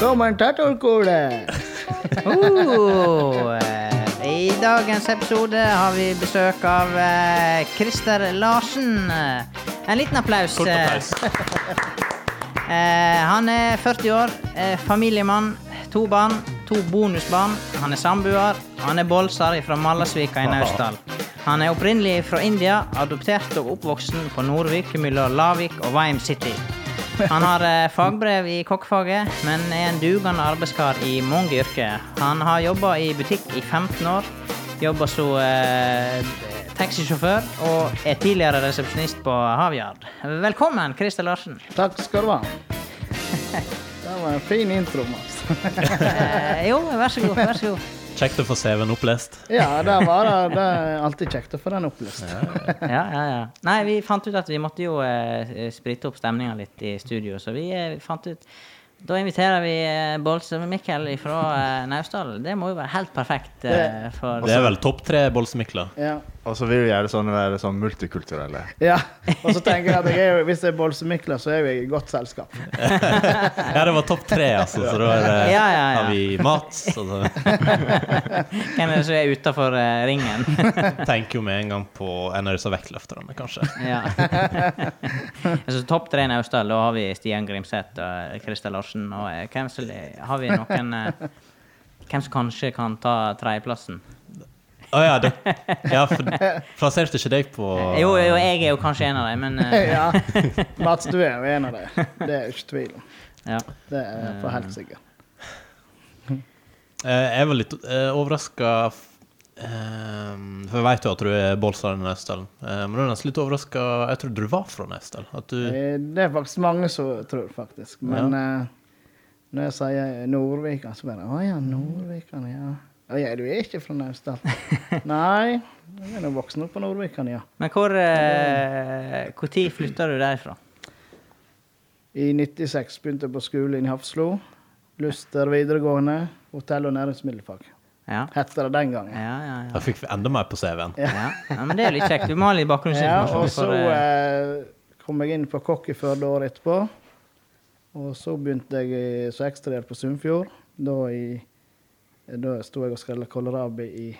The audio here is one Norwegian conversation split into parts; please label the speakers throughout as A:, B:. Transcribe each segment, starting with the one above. A: Kommentator Kole.
B: Oh, eh, I dagens episode har vi besøk av eh, Christer Larsen. Eh, En liten applaus.
C: Kort applaus.
B: Eh, han er 40 år, eh, familiemann, to barn, to bonusbarn. Han er samboer. Han er bolsar fra Malasvika i Naustdal. Han er opprinnelig fra India, adoptert og oppvoksen på Nordvik mellom Lavik og Vime City. Han har eh, fagbrev i kokkefaget, men er en dugende arbeidskar i mange yrker. Han har jobba i butikk i 15 år, jobba som eh, taxisjåfør og er tidligere resepsjonist på Havyard. Velkommen, Christer Larsen.
A: Takk skal du ha. Det var en fin intro, Mats.
B: Eh, jo, vær så god. vær så god.
C: Kjekt å få CV-en opplest.
A: Ja, det var det. Det er alltid kjekt å få den opplest.
B: Ja, ja, ja. Nei, vi fant ut at vi måtte jo eh, sprite opp stemninga litt i studio, så vi eh, fant ut Da inviterer vi eh, Bolse-Mikkel fra eh, Naustdal. Det må jo være helt perfekt eh, for
C: Det er vel topp tre bolsemikler.
A: Ja.
D: Og så vil vi gjerne sånn være sånn multikulturelle.
A: ja. Og så tenker jeg at jeg er, jo- hvis jeg er bolsemikler, så er jeg i godt selskap.
C: Ja, det var topp tre, altså. Så da er det,
B: Ja, ja, ja.
C: har vi Mats. Og så
B: Hvem er det som er utafor eh, ringen?
C: tenker jo med en gang på en av disse vektløfterne, kanskje.
B: ja. altså, topp tre Naustdal, da har vi Stian Grimseth og eh, Christer Larsen. Og eh, hvem som har vi noen eh, Hvem som kanskje kan ta tredjeplassen?
C: Å ja, det, ja for plasserte ikke deg på
B: Jo, jo, jeg er jo kanskje en av dem, men eh,
A: Ja. Mats, du er jo en av dem. Det er jo ikke tvil om.
B: ja.
A: Det er for helt sikkert.
C: Eh, Jeg var litt eh, overraska For jeg vet jo at du er bolsar i Naustdal. Eh, Men du er nesten litt overraska Jeg trodde du var fra Naustdal. At du
A: Eh, Det er faktisk mange som tror, faktisk. Men eh, når jeg sier Nordvikan, så bare Å ja, Nordvikan, ja. Å ja, du er ikke fra Naustdal? Nei, jeg er nå voksen opp på Nordvikan, ja.
B: Men hvor eh, Hvor tid flytta du derfra?
A: I 96 begynte jeg på skolen i Hafslo. Luster videregående, hotell- og næringsmiddelfag.
B: Ja.
A: Hette det den gangen.
B: Ja, ja, ja.
C: Da fikk vi enda mer på CV-en.
B: ja. ja men det er jo litt kjekt. Du må ha litt
A: Ja,
B: bakgrunnsinformasjon.
A: og så
B: for, eh,
A: eh, kom jeg inn på kokk i Førde året etterpå. Og så begynte jeg i- som ekstrahjelp på Sunnfjord. Da, i, eh, da sto jeg og skrella kålrabi i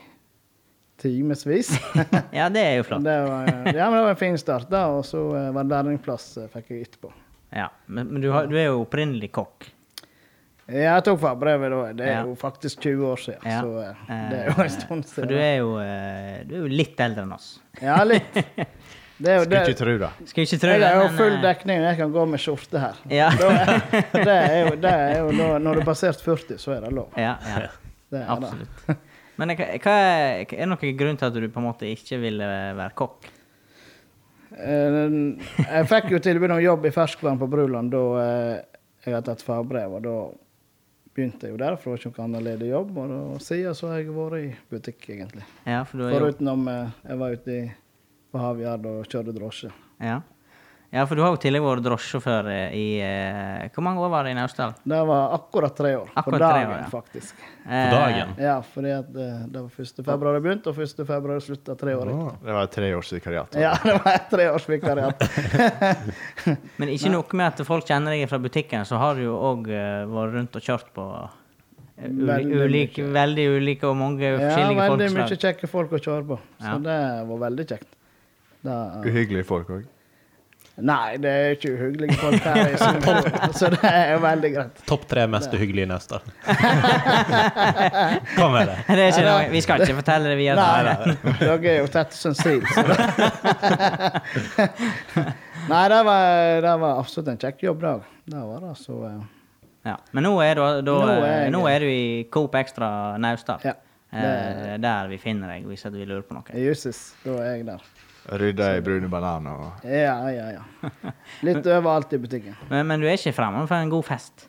A: timevis.
B: ja, det er
A: ja,
B: jo flott.
A: men det var en fin start, da. Og så eh, var det lærlingplass eh, fikk jeg etterpå.
B: Ja. Men, men du, har, du er jo opprinnelig kokk.
A: Ja, Jeg tok fagbrevet da. Det er
B: Ja.
A: jo faktisk 20 år siden,
B: Ja.
A: så eh, det er jo en stund
B: For du
A: siden.
B: er jo, eh, du er jo litt eldre enn oss.
A: Ja, litt. Det er jo
D: Skulle
A: det.
D: ikke tro det.
B: Skulle ikke tro
A: Jeg
B: det,
A: har jo
B: men,
A: full
B: eh,
A: dekning, jeg kan gå med skjorte her.
B: Ja.
A: Da er- det er jo, det er jo da, når du er passert 40, så er det lov.
B: Ja, ja.
A: Det er det.
B: Absolutt. Men eh, hva, hva er, er det noen grunn til at du på en måte ikke ville være kokk?
A: Eh, Jeg fikk jo tilbud om jobb i ferskvann på Bruland da eh, jeg hadde tatt fagbrev, og da begynte jeg jo der, for det var ikke noen annen ledig jobb, og da siden så har jeg vært i butikk, egentlig.
B: Ja, for du har jo
A: Forutenom eh, jeg var ute i, på Havyard og kjørte drosje.
B: Ja. ja, for du har jo tidligere vært drosjesjåfør eh, i eh, Hvor mange år var det i Naustdal?
A: Det var akkurat tre år. på
B: Akkurat tre år,
A: dagen,
B: ja.
A: faktisk.
B: Eh,
C: dagen?
A: Ja, fordi at eh, det var 1. februar jeg begynte, og 1. februar jeg slutta tre år etter.
D: Det var et treårsvikariat.
A: Ja, det var et treårsvikariat.
B: Eh, Men ikke nok med at folk kjenner deg fra butikken, så har du jo òg vært rundt og kjørt på eh, uli
A: Veldig
B: ulik, veldig ulike og mange
A: Ja,
B: forskjellige
A: veldig mye
B: folkeslag.
A: kjekke folk å kjøre på. Så
B: Ja.
A: det var veldig kjekt. Da-
D: Uhyggelige folk òg.
A: nei, det er ikke uhyggelige folk her, i Sunnfjord, så det er veldig greit.
C: Topp tre mest uhyggelige i Naustdal. Kom med det.
B: Det er ikke noe, vi skal ikke fortelle det via
A: Nei,
B: det.
A: Dere er jo tett som stil. så det- Nei, det var, det var absolutt en kjekk jobb, det òg. Det var det, så eh,
B: Ja. Men nå er, du, da,
A: Nå er
B: eh,
A: jeg-
B: nå er du i Coop Extra Naustdal.
A: Ja.
B: Eh, der vi finner deg, hvis at vi lurer på noe.
A: Jussis, da er jeg der.
D: Rydda i brune bananer og
A: Ja, ja, ja. Litt overalt i butikken.
B: Men, men du er ikke fremmed for en god fest?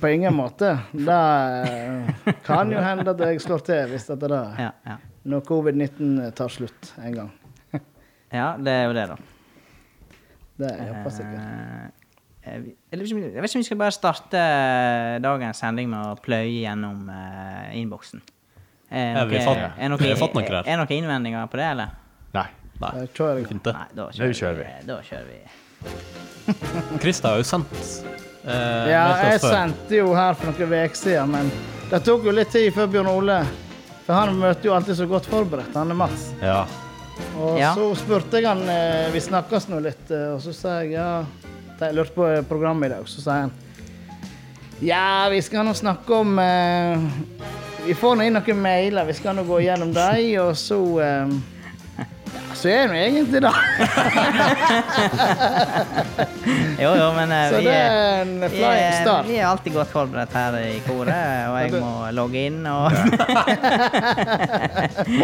A: På ingen måte. Det eh, kan jo hende at jeg slår til hvis dette da,
B: Ja, ja.
A: når covid-19 tar slutt en gang.
B: ja, det er jo det, da.
A: Det er jeg sikkert.
B: Eh, eh, vi- Jeg vet ikke om- jeg vet ikke om vi skal bare starte eh, dagens sending med å pløye gjennom eh, innboksen. Er
C: Ja, vi har
B: noe-
C: fått-
B: er
C: vi har fått noe
B: noe-
C: der.
B: er noen innvendinger på det, eller?
D: Nei.
C: Nei,
A: Da kjører jeg.
C: fint det.
B: Nei, da
D: Nå
B: kjører,
D: kjører
B: vi. Da kjører vi.
C: Krista har jo sendt eh,
A: Ja,
C: meldt oss
A: jeg
C: før.
A: sendte jo her for noen uker siden, men det tok jo litt tid før Bjørn Ole. For han møter jo alltid så godt forberedt, han er Mats.
C: Ja.
A: Og
B: Ja.
A: så spurte jeg han eh, Vi snakkes nå litt, eh, og så sa jeg ja Jeg lurte på programmet i dag, så sa han Ja, vi skal nå snakke om eh, Vi får nå inn noen mailer, vi skal nå gå gjennom dem, og så eh, Ja, så er nå egentlig det.
B: Jo, jo, men eh,
A: Så
B: vi
A: det
B: er
A: er en
B: vi
A: flying
B: er,
A: start.
B: vi er alltid godt forberedt her i koret, eh, og jeg må logge inn og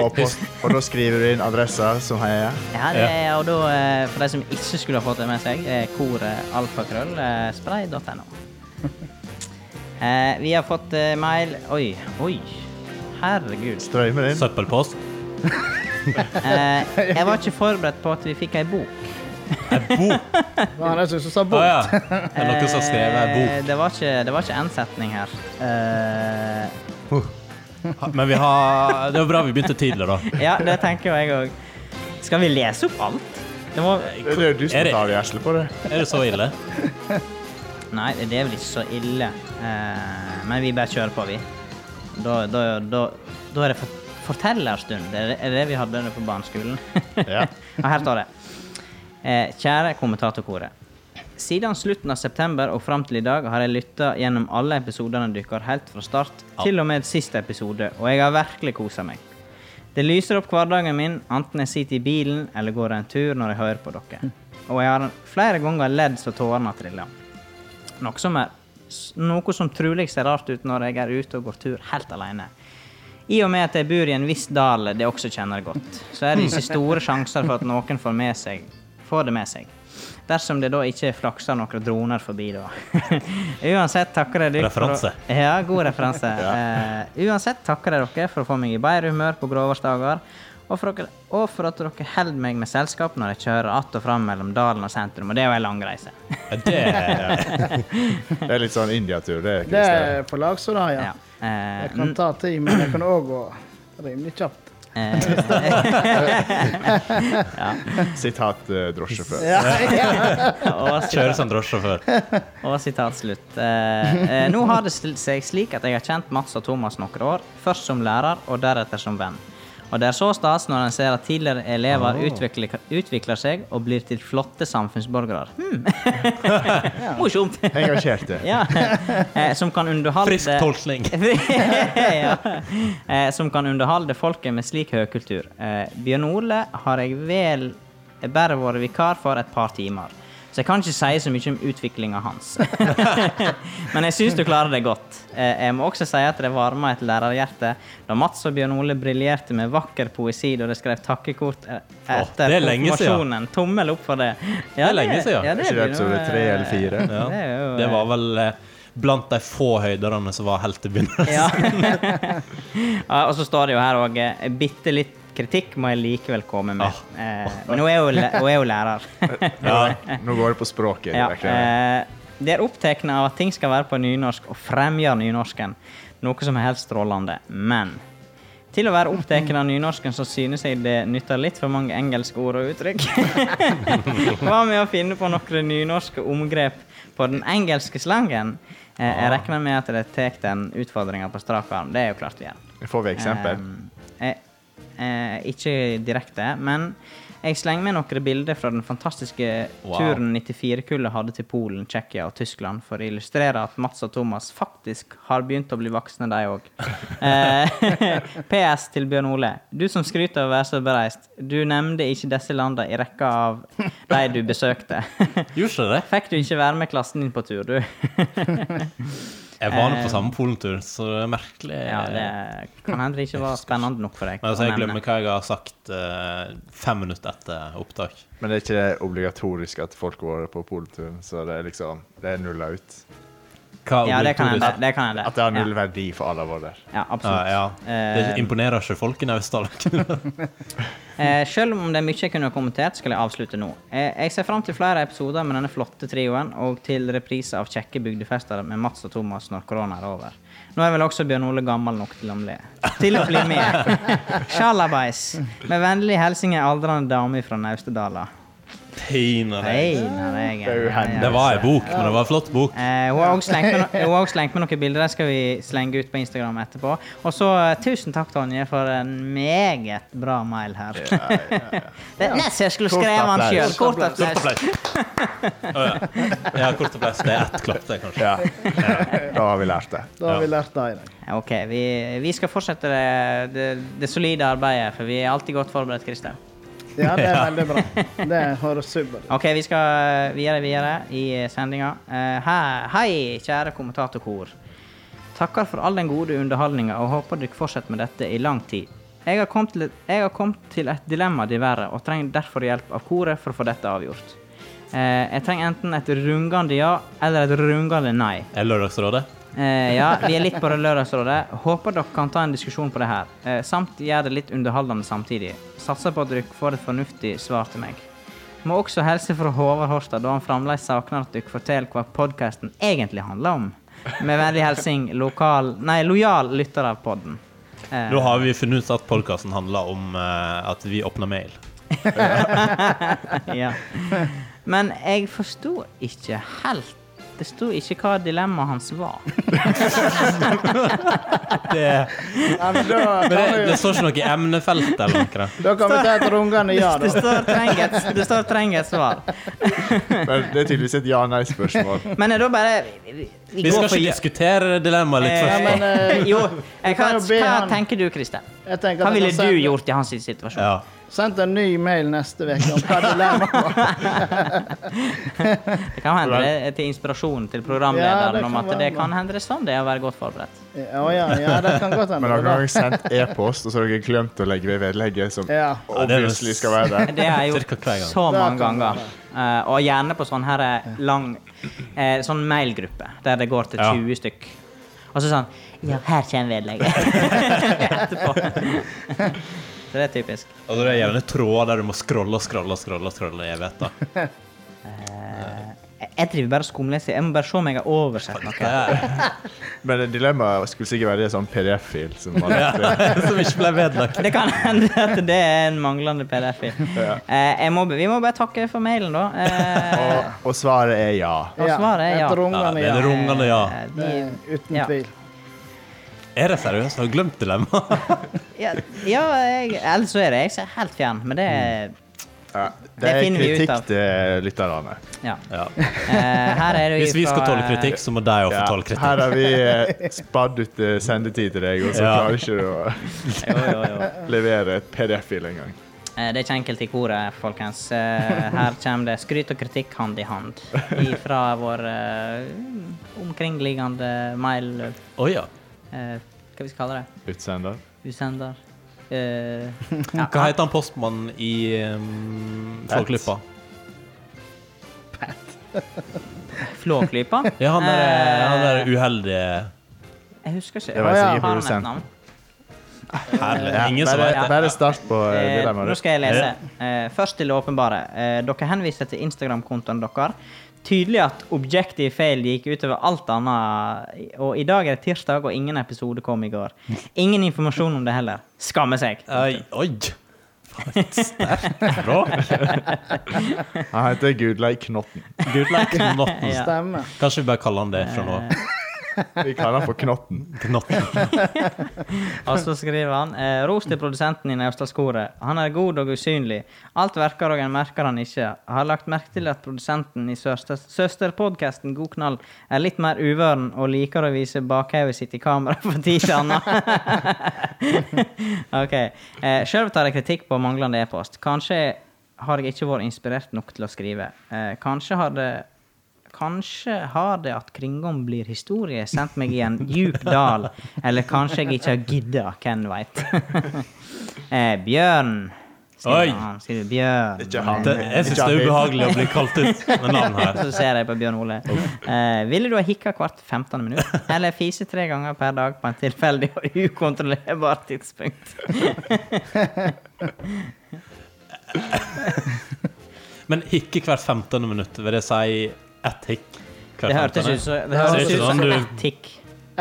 D: Og, post, og da skriver du inn adressa som heier.
B: Ja, det er, og da, eh, for de som ikke skulle ha fått det med seg, er koret alfakrøllspray.no. Eh, Vi har fått eh, mail Oi, oi. Herregud.
D: Strømmer inn.
C: Søppelpost.
B: Eh, Jeg var ikke forberedt på at vi fikk ei bok.
C: En bok.
A: Det var han som sa
C: Å
A: bort.
C: Ah, ja. Det er noen som har skrevet ei bok.
B: Eh, Det var ikke, det var ikke en setning her. Eh,
C: Ha- Men vi har Det var bra vi begynte tidlig, da.
B: Ja, det tenker jo jeg òg. Skal vi lese opp alt? Det må,
D: Det er jo du
C: Er
D: som
C: det-
D: tar gjesle på det.
C: Er det så ille?
B: Nei, det er vel ikke så ille. Eh, men vi bare kjører på, vi. Da, da, da, da er det for, fortellerstund. Det er det- er det vi hadde på barneskolen.
D: Ja.
B: og her står det. Eh, kjære kommentatorkoret. Siden slutten av september og fram til i dag har jeg lytta gjennom alle episodene deres helt fra start til og med siste episode, og jeg har virkelig kosa meg. Det lyser opp hverdagen min, enten jeg sitter i bilen eller går en tur når jeg hører på dere. Og jeg har flere ganger ledd så tårene har trilla. Noe som, er, s- noe som trolig ser rart ut når jeg er ute og går tur helt alene. I og med at jeg bor i en viss dal det også kjenner godt, så er det ikke store sjanser for at noen får, med seg, får det med seg. Dersom det da ikke flakser noen droner forbi, da. Uansett takker jeg dere for å-
C: Referanse.
B: Ja, god referanse. Eh, uansett takker jeg dere for å få meg i bedre humør på gråværsdager, og, for dere- og for at dere holder meg med selskap når jeg kjører att og fram mellom dalen og sentrum, og det er jo en lang reise.
C: Ja, Det
D: Det er litt sånn India-tur, det.
A: Det
D: Christer.
A: er på lag, så da, ja.
B: Ja. Eh,
A: Jeg kan ta tid, men jeg kan òg gå rimelig kjapt.
B: eh,
D: Sitat eh, drosjesjåfør.
A: Ja, ja.
B: og
C: Kjøre som drosjesjåfør.
B: Og sitat slutt. Eh, eh, nå har det sl- seg slik at jeg har kjent Mats og Thomas noen år, først som lærer og deretter som venn. Og det er så stas når en ser at tidligere elever utvikler, utvikler seg og blir til flotte samfunnsborgere. Hmm. Morsomt!
D: Engasjerte.
B: ja. eh, som kan underholde
C: Frisk tolkning.
B: ja. eh, som kan underholde folket med slik høykultur. Eh, Bjørn Ole har jeg vel bare vært vikar for et par timer. Så jeg kan ikke si så mye om utviklinga hans. Men jeg syns du klarer det godt. Eh, jeg må også si at det varma et lærerhjerte da Mats og Bjørn Ole briljerte med vakker poesi da de skrev takkekort eh,
C: Åh,
B: etter
C: det er lenge siden.
B: konfirmasjonen. Tommel opp for det.
C: Det er lenge siden.
B: ja,
D: Er ikke det
B: blir noe-
D: episode tre eller fire?
C: Ja.
B: eh, Det er jo-
C: Det var vel eh, blant de få høyderne som var helt til begynnelsen.
B: Ja. ja, og så står det jo her òg Bitte litt kritikk må jeg likevel komme med.
C: Ah.
B: Eh, men hun er jo, læ- hun er jo lærer.
D: Nå, nå går det på språket.
B: ja,
D: virkelig.
B: eh, de er opptatt av at ting skal være på nynorsk og fremger nynorsken, noe som er helt strålende. Men til å være opptatt av nynorsken, så synes jeg det nytter litt for mange engelske ord og uttrykk. Hva med å finne på noen nynorske omgrep på den engelske slangen? Eh, jeg regner med at de tar den utfordringa på strak arm. Det er jo klart vi gjør.
D: Får vi eksempel?
B: Eh, eh, ikke direkte, men jeg slenger med noen bilder fra den fantastiske
C: Wow.
B: turen 94-kullet hadde til Polen, Tsjekkia og Tyskland, for å illustrere at Mats og Thomas faktisk har begynt å bli voksne, de òg. Eh, PS til Bjørn Ole. Du som skryter av å være så bereist, du nevnte ikke disse landene i rekka av de du besøkte.
C: Gjorde ikke det?
B: Fikk du ikke være med klassen din på tur, du?
C: Jeg var nå på samme polentur, så det er merkelig.
B: Eh. Ja, det kan hende det ikke var spennende nok for deg.
C: Men altså,
B: å
C: jeg
B: nevne.
C: glemmer hva jeg har sagt eh, fem minutter etter opptak.
D: Men det er ikke det obligatorisk at folk går på polturen, så det er liksom Det er nulla ut.
C: Hva
B: Ja, det kan
C: obligatorisk-
B: hende. Det kan hende.
D: At det har
B: Ja.
D: null verdi for alle vår der.
B: Ja,
C: Ja,
B: absolutt.
C: ja.
B: Eh,
C: Det imponerer ikke folk i Naustdal.
B: Eh, selv om det er mye jeg kunne ha kommentert, skal jeg avslutte nå. Eh, jeg ser fram til flere episoder med denne flotte trioen, og til reprise av kjekke bygdefester med Mats og Thomas når korona er over. Nå er vel også Bjørn Ole gammel nok til å bli, til å bli med. Sjalabais. Med vennlig hilsen ei aldrende dame fra Naustedala.
C: Teinereien.
B: Teinereggen.
D: Det er jo henne.
C: Det var ei bok, men det var ei flott bok.
B: Eh, hun har også slengt med no- hun har også slengt med noen bilder. Det skal vi slenge ut på Instagram etterpå. Og så eh, tusen takk, Tonje, for en meget bra mail her. det er nesten jeg skulle
D: Kort
B: skrevet den
D: applaus.
B: sjøl. Kort
C: Kort
B: applaus.
C: applaus. Å, ja. ja, kort applaus. Det er ett klapp, det, kanskje.
D: Ja. Da har vi lært det.
A: Da har vi
C: Ja.
A: lært det i dag.
B: Ok, vi, vi skal fortsette det, det, det solide arbeidet, for vi er alltid godt forberedt, Christer.
A: Ja, det er veldig bra. Det høres supert ut.
B: Ok, vi skal eh, videre videre i sendinga. Eh, he- hei, kjære kommentatorkor. Takker for all den gode underholdninga og håper dere fortsetter med dette i lang tid. Jeg har kommet til, jeg har kommet til et dilemma, diverre, og trenger derfor hjelp av koret for å få dette avgjort. Eh, jeg trenger enten et rungende ja eller et rungende nei.
C: Er Lørdagsrådet?
B: Eh, ja, vi er litt på Lørdagsrådet. Håper dere kan ta en diskusjon på det her. Eh, samt gjør det litt underholdende samtidig. Satser på at dere får et fornuftig svar til meg. Må også hilse fra Håvard Horstad, da han fremdeles savner at dere forteller hva podkasten egentlig handler om. Med vennlig hilsing lokal Nei, lojal lytter av podden. Eh,
C: Nå har vi funnet ut at podkasten handler om eh, at vi åpner mail.
B: ja. Men jeg forsto ikke helt Det sto ikke hva dilemmaet hans var.
C: Det,
A: Ja, men da, kan
C: men det,
A: vi,
C: det står ikke noe i emnefeltet eller noe.
A: da kan vi ta et rungende ja,
B: Det
A: da.
B: står trenger et- det står trenger et svar.
D: Men det er tydeligvis et ja-nei-spørsmål.
B: Men da bare Vi, vi,
C: Vi
B: går
C: skal
B: for
C: ikke
B: ja.
C: diskutere dilemmaet litt
A: Ja,
B: Eh,
C: først.
A: men,
C: da.
A: eh,
B: Jo, eh, hva,
A: kan jo be
B: hva
A: han-
B: tenker du, Christer?
A: jeg tenker
B: Hva
A: at jeg
B: ville
A: kan altså-
B: du
A: sende-
B: gjort i hans situasjon?
C: Ja.
A: Sendt en ny mail neste uke om hva dilemmaet var.
B: Det kan hende det er til inspirasjon til
A: Ja,
B: programlederen
A: det
B: om
A: kan
B: at
A: være
B: det
A: bra.
B: kan hende det er sånn det er å være godt forberedt.
A: Ja, ja, ja, det kan godt hende.
D: Men dere
A: det
D: har
A: var-
D: jo sendt e-post, og så har dere glemt å legge ved vedlegget, som
A: Ja.
D: obviously skal være der.
B: Det har jeg
C: Cirka
B: gjort
C: hver gang.
B: så
A: Det
B: mange
A: kan
B: ganger. Eh, og gjerne på sånn her eh, lang eh, Sånn mailgruppe der det går til
C: Ja.
B: 20 stykk. Og så sånn Ja, her kommer vedlegget. Etterpå. Så det er typisk.
C: Og så er det gjerne tråder der du må scrolle og scrolle og scrolle, og scrolle i evigheter.
B: Eh, Jeg- Jeg driver bare og skumleser. Jeg må bare se om jeg har oversett noe.
C: Det
D: Men dilemmaet skulle sikkert være det sånn PDF-fil som var lagt ved.
C: er- Som ikke ble vedlagt.
B: Det kan hende at det er en manglende PDF-fil.
D: Ja.
B: Eh, jeg må, vi må bare takke for mailen, da. Eh,
D: Og, og svaret er ja.
B: og svaret
A: Et
B: er ja.
C: Ja,
A: rungende
C: det er det
A: ja.
C: rungende ja.
B: eh,
A: Det
B: de,
A: er Uten
B: Ja.
A: tvil.
C: Er det seriøst? Har du glemt dilemmaet?
B: ja, ja jeg, ellers så er det jeg som er helt fjern, men det er
D: ja.
B: Det
D: Det er
B: finner vi ut
D: kritikk
B: av.
D: til lytterne.
B: Ja.
C: Ja.
B: Eh, her er det jo
C: Hvis vi skal
B: ifra,
C: tåle
B: eh,
C: kritikk, så må de òg få
D: Ja,
C: tåle kritikk.
D: Her har vi eh, spadd ut eh, sendetid til deg, og så
C: Ja.
D: klarer ikke du å
B: Jo, jo, jo.
D: levere et PDF-fil engang.
B: Eh, Det er ikke enkelt i koret, folkens. Eh, Her kommer det skryt og kritikk hand i hand fra vår eh, omkringliggende mail...
C: Å ja.
B: eh, hva vi skal kalle det?
D: Utsender.
B: Usender? Eh, ja,
C: Hva heter han postmannen i um,
D: Pat.
C: Flåklypa?
B: Flåklypa?
C: Ja, han der,
B: Eh,
C: han der uheldige
B: Jeg husker ikke.
D: Det var
B: Har
D: sikkert
B: han et
D: produsenten.
B: navn?
C: Herlig.
D: Ja,
C: Ingen som
D: bare,
C: vet det.
D: bare start på eh,
B: Eh, nå
D: dilemmaet.
B: skal jeg lese. Eh, først til det åpenbare. Eh, dere henviser til Instagram-kontoen deres. Tydelig at objective fail gikk utover alt annet, og i dag er det tirsdag, og ingen episode kom i går. Ingen informasjon om det heller. Skamme seg.
C: Oi, oi. Faen, Sterkt bra.
D: Han heter Gudleik Knotten.
C: Gudleik Knotten.
B: Ja.
A: Stemmer.
C: Kanskje vi bare kaller han det fra
D: Eh.
C: nå av.
D: Vi kaller han for Knotten.
C: Knotten.
B: Og så skriver han eh, Ros til produsenten i Naustdalskoret. Han er god og usynlig. Alt verker og en merker han ikke. Har lagt merke til at produsenten i søster- søsterpodkasten God knall er litt mer uvøren og liker å vise bakhevet sitt i kamera for tid til annet. ok. Eh, Sjøl tar jeg kritikk på manglende e-post. Kanskje har jeg ikke vært inspirert nok til å skrive. Eh, kanskje har det Kanskje har det at Kringom blir historie sendt meg i en djup dal, eller kanskje jeg ikke har gidda, hvem veit. eh, Bjørn.
C: Oi.
B: Skriver han. Skriver Bjørn.
D: Ikke han.
C: Det, jeg syns det er ubehagelig å bli kalt ut med navn her.
B: Så ser jeg på Bjørn Ole. Eh, ville du ha hikka hvert 15. minutt? Eller fise tre ganger per dag på en tilfeldig og ukontrollerbart tidspunkt?
C: Men hikke hvert 15. minutt, vil det si ett hikk?
B: Det hørtes ut som det hørtes
C: Det er
B: ut
C: ikke
B: som
C: sånn du-
B: ett tikk.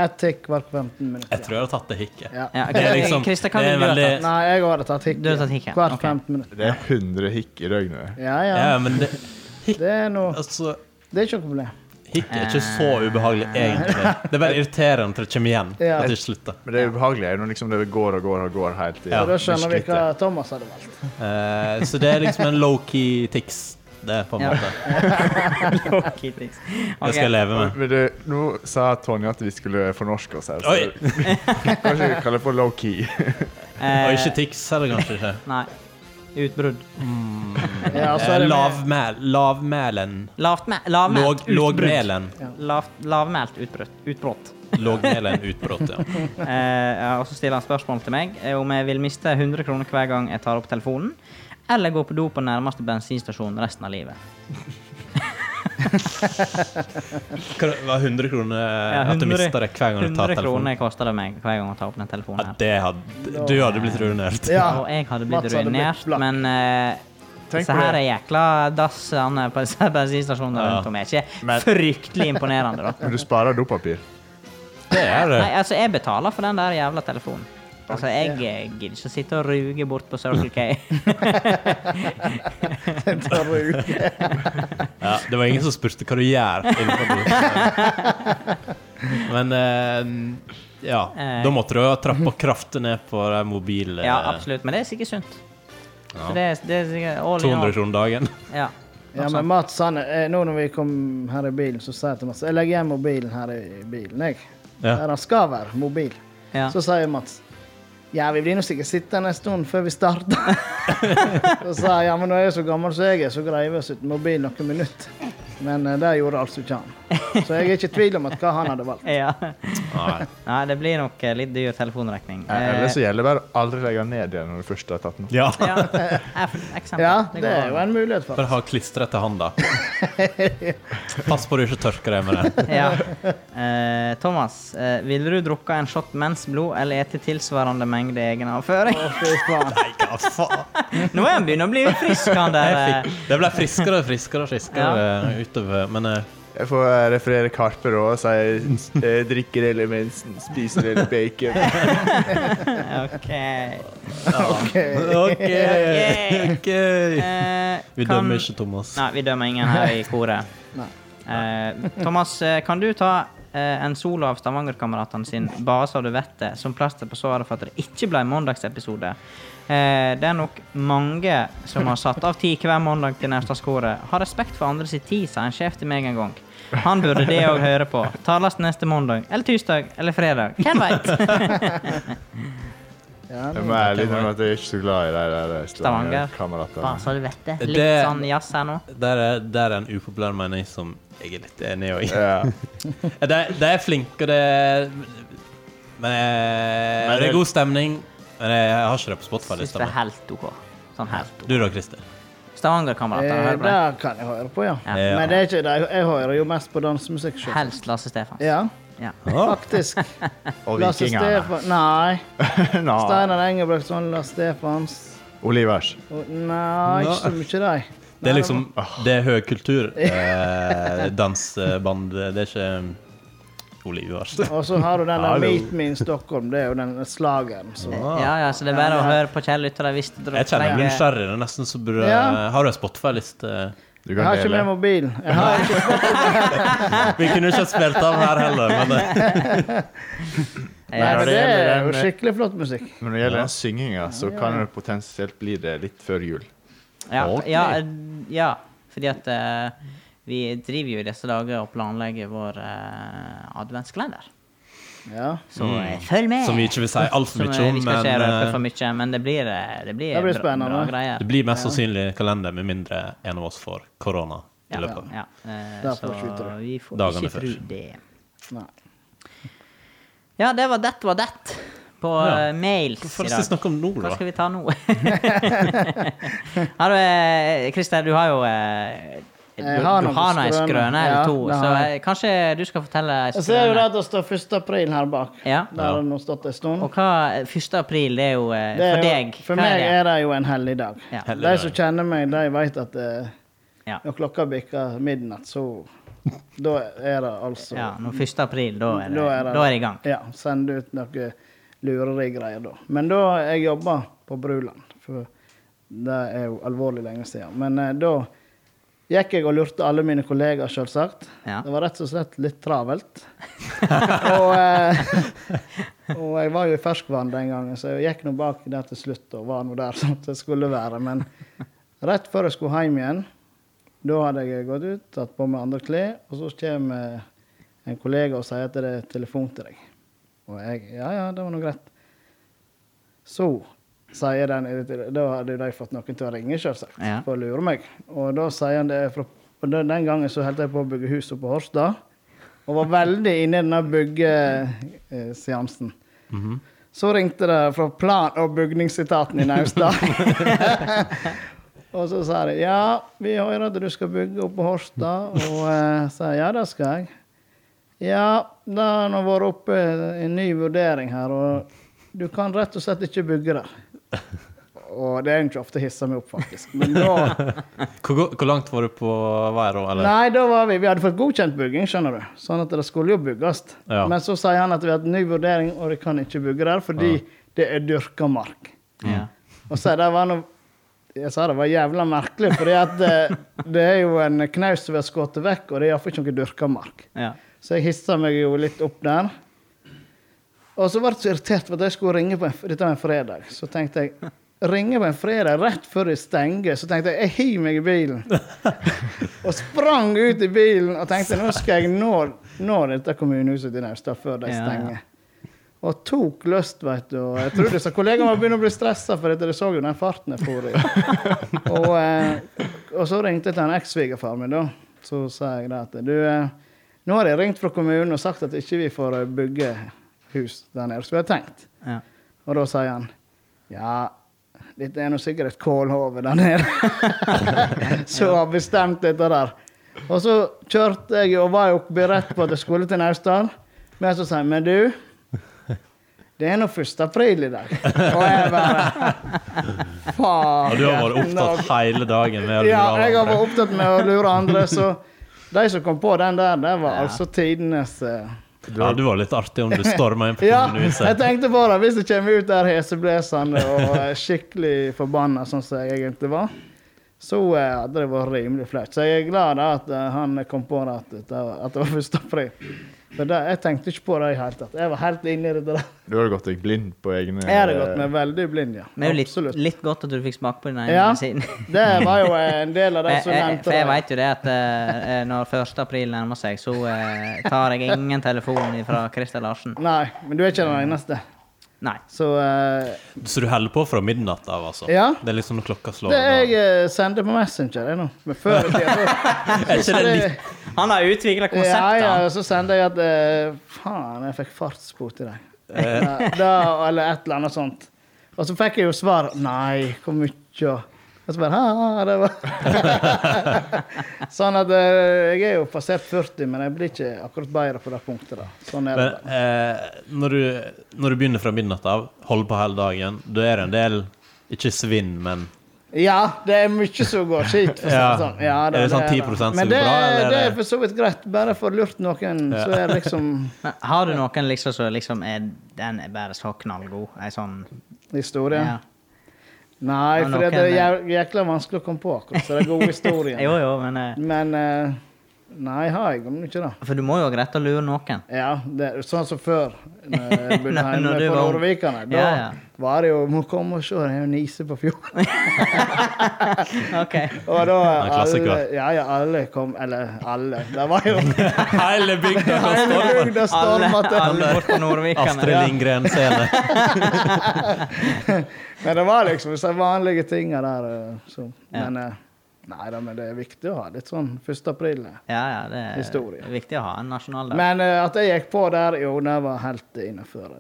A: Ett hikk hvert 15 minutter.
C: Jeg tror jeg har tatt det hikket.
A: Ja.
B: Ja,
C: Det er liksom-
B: Christer, hva
C: det er
B: ville du ha
C: veldig-
B: tatt?
A: Nei, jeg har tatt hikk.
B: Du har tatt hikken,
A: Hvert
B: ok.
A: 15 minutter.
D: Det er 100 hikk i døgnet.
A: Ja, ja.
C: Ja, men det,
A: Det er noe
C: altså,
A: Det er ikke noe problem.
C: hikk er ikke så ubehagelig, egentlig. Det er bare irriterende til det kommer igjen.
A: Eh. Ja.
C: At det ikke slutter.
D: Men det er ubehagelig er jo når liksom det går og går og går helt i
C: Ja.
A: Og da skjønner vi
D: virkelig.
A: hva Thomas hadde valgt.
C: Eh, så det er liksom en low-key tics. Det er på en
B: Ja.
C: måte.
B: Ok, tics.
C: Det skal jeg
B: Ok.
C: leve med.
D: Men du, nå sa Tonje at vi skulle fornorske oss her, så
C: Oi.
D: kanskje vi kaller det for low-key.
C: Og
B: Eh,
C: ikke tics heller, kanskje ikke.
B: Nei. Utbrudd.
A: Ja, så
C: Eh,
A: er det med,
C: lavmæl- Lavmælen.
B: Lavt mæ- Lavmælt
C: Låg- Lågmælen.
B: Lavt- Lavmælt utbrudd. Utbrudd.
C: Lågmælen utbrudd, ja.
B: Eh, ja, og så stiller han spørsmål til meg eh, om jeg vil miste 100 kroner hver gang jeg tar opp telefonen, eller gå på do på nærmeste bensinstasjon resten av livet.
C: Eh, Hva det var 100 kroner
B: Ja,
C: at du
B: 100
C: mister det hver gang du tar
B: 100
C: telefonen?
B: kroner koster det meg hver gang jeg tar opp den telefonen.
C: Ja,
B: her.
C: det hadde, du hadde blitt ruinert.
A: Ja.
B: Og jeg hadde blitt
A: Mats hadde blitt
B: ruinert,
A: blakk.
B: men eh,
D: Tenk
B: så
D: på
B: her
D: det.
B: er jækla dassene på disse bensinstasjonene
C: Ja.
B: rundt om. Er ikke
C: Men-
B: fryktelig imponerende, da.
D: Men du sparer dopapir.
C: Det er det.
B: Nei, altså, jeg betaler for den der jævla telefonen. Altså, jeg eh, gidder ikke å sitte og ruge bort på Circle K.
A: tar du ut.
C: Ja, det var ingen som spurte hva du gjør. innenfor det. Men eh, ja,
B: Eh.
C: da måtte du jo trappe kraften ned på de mobile
B: Ja, absolutt. Men det er sikkert sunt.
C: Ja.
B: Så det, er- det er sikkert all in all.
C: 200 kroner dagen.
B: Ja.
A: Ja, men Mats, han er, eh, nå når vi kom her i bilen, så sa jeg til Mats Jeg legger igjen mobilen her i bilen, jeg.
C: Ja.
A: Der han skal være. Mobil.
B: Ja.
A: Så sa jeg Mats Ja, vi blir nå sikkert sittende en stund før vi starter. så sa jeg ja, men når jeg er så gammel som jeg er, så greier vi oss uten mobil noen minutter. Men eh, det gjorde altså ikke han. Så jeg er ikke i tvil om at hva han hadde valgt.
B: ja.
C: Nei.
B: Nei, det blir nok eh, litt dyr telefonregning.
D: Eller
B: Eh,
D: så gjelder det bare å aldri legge den ned igjen når du først har tatt den.
C: Ja.
B: ja. Eh, for eksempel.
A: Ja,
B: Det
A: det
B: går
A: er jo
B: an.
A: en mulighet for
C: Bare ha klistret til handa. Pass på du ikke tørker deg med det.
B: ja. Eh, Thomas, eh, ville du drukket en shot mensblod eller ete tilsvarende mengde egenavføring?
A: Å, fy faen.
C: Nei, hva faen?
B: Nå er han begynner å bli frisk, han der.
C: Jeg
B: eh.
C: fikk, det ble friskere og friskere og friskere eh, utover. Men eh,
D: Jeg får referere Karpe og si eh, drikker hele mensen, spiser hele bacon.
B: Ok.
C: ja. OK.
B: Ok.
C: OK.
B: Eh,
C: Vi
B: kan-
C: dømmer ikke Thomas.
B: Nei, vi dømmer ingen her i koret.
A: Nei.
B: Eh, Thomas, eh, kan du ta eh, en solo av Stavangerkameratene sin 'Bare så du vet det' som plaster på såret for at det ikke ble mandagsepisode? Eh, det er nok mange som har satt av tid hver mandag til Naustdalskoret. Ha respekt for andre sin tid, sa en sjef til meg en gang. Han burde det òg høre på. Tales neste mandag, eller tirsdag, eller fredag. Hvem veit?
A: Ja,
D: Jeg
A: nå-
D: må ærlig innrømme at jeg er ikke så glad i de der eh,
B: Stavanger. Bare
D: Stavanger-kameratene.
B: så du vet det. Litt
C: Det-
B: sånn jazz her nå.
C: Der er, der er en upopulær mening som jeg er litt enig i.
D: Ja.
C: Ja, De, de er flinke, og det er Men eh, det er god stemning. Men jeg har ikke det
B: Syns det
C: på
B: er
C: Spotify-lista.
B: helt OK. Sånn helt OK.
C: Du da, Christer?
B: Stavangerkameratene, hører
A: Eh,
B: på det?
A: det kan jeg høre på, ja.
B: Ja.
A: Men det er ikke det. Jeg hører jo mest på dansemusikk. selv.
B: Helst Lasse Stefans.
A: Ja,
B: Ja.
C: Ah,
A: faktisk.
D: Og
A: Lasse
D: vikingene.
A: Stefan Nei.
D: Nå.
A: Steinar Engebrektsson, Lasse Stefans
D: Olivers.
A: og, Nei, ikke så mye de.
C: det er liksom Det er høy kultur. Eh, danseband. Det er ikke eh, Olivers.
A: Og så har du den der
D: Hallo.
A: Meet Me in Stockholm. Det er jo den slageren. Så.
B: Ja, ja, så det er bare å høre på Kjell Lytter. Hvis du
C: Ah. Jeg kjenner jeg blir
B: trenger-
C: nysgjerrig. Det er nesten så burde
A: Ja.
C: Har du en Spotify-liste?
D: Du
A: Jeg
D: kan
A: har ikke med
D: dele.
A: mobilen. Jeg har ikke.
C: Vi kunne ikke ha spilt av her heller, men eh,
A: Nei,
B: Ja,
A: men det er jo
B: eh.
D: den-
A: skikkelig flott musikk.
D: Men når det gjelder den synginga, så kan det potensielt bli det litt før jul.
B: ja, ja, ja, fordi at eh, vi driver jo i disse dager og planlegger vår eh, adventskalender.
A: Ja.
B: Så eh, følg med!
C: Mm. som vi ikke vil si altfor
B: Som, eh,
C: mye om.
B: Vi skal
C: Men
B: ikke røpe
C: eh,
B: for mye, men det blir, eh, det blir,
A: Det blir
B: bra-
A: spennende.
B: bra greier.
C: det blir mest sannsynlig kalender, med mindre en av oss får korona i
B: ja,
C: løpet av
B: ja. eh,
A: Der får vi ikke
B: Så
A: tro.
B: vi får
C: Dagene
B: ikke tro
C: før.
B: det.
A: Nei.
B: Ja, det var det var det på
C: Ja.
B: eh, mails
C: Hvorfor
B: i
C: skal
B: dag.
C: vi snakke om nord,
B: Hva
C: da?
B: skal vi ta nå? har du, eh, Christer, du har jo eh, du,
A: Jeg har
B: du
A: noen
B: har nå en
A: skrøner.
B: skrøne eller
A: Ja,
B: to,
A: det
B: så
A: har
B: eh, kanskje du skal fortelle en
A: Jeg ser jo
B: skrøne.
A: der det står 1. april her bak.
B: Ja.
A: Der har den nå stått en stund.
B: Og hva 1. april, det er jo eh,
A: Det er
B: for
A: jo-
B: deg.
A: For
B: hva
A: meg
B: er det?
A: er det jo en hellig dag.
B: Ja.
C: Hellig
A: De
C: dag.
A: som kjenner meg, de vet at eh,
B: Ja.
A: når klokka bikker midnatt, så Da er det altså
B: Ja, når 1. april, da er det,
A: det-
B: da er det i gang.
A: Ja, sende ut noen lurere greier da. Men da jeg jobba på Bruland, for det er jo alvorlig lenge siden, men eh, da gikk jeg og lurte alle mine kollegaer, selvsagt.
B: Ja.
A: Det var rett og slett litt travelt. og, eh, og jeg var jo i ferskvann den gangen, så jeg gikk nå bak der til slutt og var nå der som det skulle være. Men rett før jeg skulle hjem igjen, da hadde jeg gått ut, tatt på meg andre klær, og så kommer en kollega og sier at det er telefon til deg. Og jeg Ja, ja, det var nå greit. Så sier den Da hadde jo de fått noen til å ringe, selvsagt,
B: Ja.
A: for å lure meg. Og da sier han det er fra og den den gangen så holdt jeg på å bygge hus oppe på Horstad. Og var veldig inne i denne byggeseansen. Så ringte det fra plan- og bygningsetaten i Naustdal. og så sa de ja, vi hører at du skal bygge oppe på Horstad. Og eh, sa jeg, ja, det skal jeg. Ja, det har nå vært oppe en ny vurdering her, og du kan rett og slett ikke bygge der. Og det er jo ikke ofte jeg hisser meg opp, faktisk. Men da
C: Hvor, go- hvor langt var du på vei da? Eller?
A: Nei, da var vi, vi hadde fått godkjent bygging, skjønner du. Sånn at det skulle jo bygges.
C: Ja.
A: Men så sier han at vi har hatt ny vurdering, og de kan ikke bygge der fordi det er dyrka mark.
B: Ja.
A: Og så det var noe Jeg sa det var jævla merkelig, fordi at det, det er jo en knaus som er skutt vekk, og det er iallfall ikke noe dyrka mark.
B: Ja.
A: Så jeg hissa meg jo litt opp der. Og så ble jeg så irritert for at jeg skulle ringe på en, dette var en fredag. Så tenkte jeg ringe på en fredag rett før de stenger. Så tenkte jeg jeg hiver meg i bilen. og sprang ut i bilen og tenkte nå skal jeg nå, nå dette kommunehuset i Naustdal før de
B: Ja, ja.
A: stenger. Og tok lyst, veit du. Og jeg tror disse kollegene var begynner å bli stressa, for dette, de så jo den farten jeg for i. Og, eh, og så ringte jeg til en eks-svigerfar min, da. Så sa jeg det at du, eh, nå har jeg ringt fra kommunen og sagt at ikke vi får eh, bygge hus der nede, som vi har tenkt.
B: Ja.
A: Og da sier han ja, dette er nå sikkert et kålhove der nede som har bestemt dette der. Og så kjørte jeg og var jo beredt på at jeg skulle til Naustdal. Men så sier han men du, det er nå 1. april i dag. Og jeg bare
C: Ja,
A: Faen.
C: du har vært opptatt hele dagen med å
A: Ja,
C: lure
A: jeg har
C: andre.
A: vært opptatt med å lure andre, så de som kom på den der, det var altså tidenes eh,
C: Ja, du var litt artig om du storma inn på
A: Ja, jeg
C: kommunehuset.
A: tenkte på det. Hvis jeg kommer ut der heseblesende og eh, skikkelig forbanna, sånn som jeg egentlig var, så eh, hadde det vært rimelig flaut. Så jeg er glad da at eh, han kom på det, at det var, at det var 1. april. For det, jeg tenkte ikke på det i det hele tatt. Jeg var helt inne i det der.
D: Du har gått deg blind på egne
A: Jeg hadde gått meg veldig blind, ja.
B: Men det er jo litt,
A: Absolutt.
B: litt godt at du fikk smake på den ene
A: Ja.
B: siden.
A: Det var jo eh, en del av de
B: Jeg,
A: som
B: jeg,
A: nevnte
B: eh, for jeg
A: det.
B: veit jo det at eh, eh, når 1. april nærmer seg, så eh, tar jeg ingen telefon fra Christer Larsen.
A: Nei, men du er ikke den eneste.
B: Nei.
A: Så eh,
C: Så du holder på fra midnatt av, altså?
A: Ja.
C: Det er liksom når klokka slår.
A: det jeg
C: da.
A: eh, sender på Messenger, jeg nå. Men før i tida
C: Er ikke det litt
B: Han har utvikla
A: Ja,
B: konseptet.
A: ja,
B: han.
A: så sender jeg at eh, Faen, jeg fikk fartsbot i dag.
C: Eh.
A: Ja, da, eller et eller annet sånt. Og så fikk jeg jo svar Nei, hvor mye? Og så bare «Ha, det var Sånn at eh, jeg er jo passert 40, men jeg blir ikke akkurat bedre på det punktet. da. Sånn er det.
C: Men eh, når, du, når du begynner fra midnatt av, holder på hele dagen, da er det en del Ikke svinn, men
A: Ja, det er mye som går skitt. for å si
C: Ja.
A: det sånn. Ja,
C: Er det sånn 10%
A: Men
C: som
A: det,
C: er bra, eller er
A: det er
C: det-
A: for så vidt greit. Bare for lurt noen, så er det liksom
B: Men har du noen liksom som liksom er Den er bare så knallgod. Ei sånn
A: historie.
B: ja.
A: Nei,
B: Ja,
A: for det er
B: noen er-
A: jæv- jækla vanskelig å komme på akkurat, så det er gode
B: Jo,
A: historier.
B: jo, men eh,
A: Men eh, Nei, har jeg om ikke det.
B: For du må jo ha rett å lure noen.
A: Ja, det er sånn som før. Når jeg bodde
B: Når-
A: hjemme
B: når du
A: på
B: var ung.
A: Nordvikane. Da
B: Ja, ja.
A: var det jo Må komme og se, det er jo nise på fjorden.
B: Ok.
A: Og da
C: Ja, klassiker.
A: alle, ja, ja, alle kom Eller alle. Det var jo
C: Hele bygda går
A: hele
C: storm!
A: bygda
B: Alle,
A: storma til.
B: alle bort på Nordvikane.
C: Astrid Lindgren-scene.
A: Men det var liksom disse vanlige tinga der. eh, Så. Men eh, Nei da, men det er viktig å ha litt sånn 1. april. eh.
B: Ja, ja, det er
A: Historie.
B: viktig å ha en nasjonaldag.
A: Men eh, at jeg gikk på der, jo, det var helt innafor.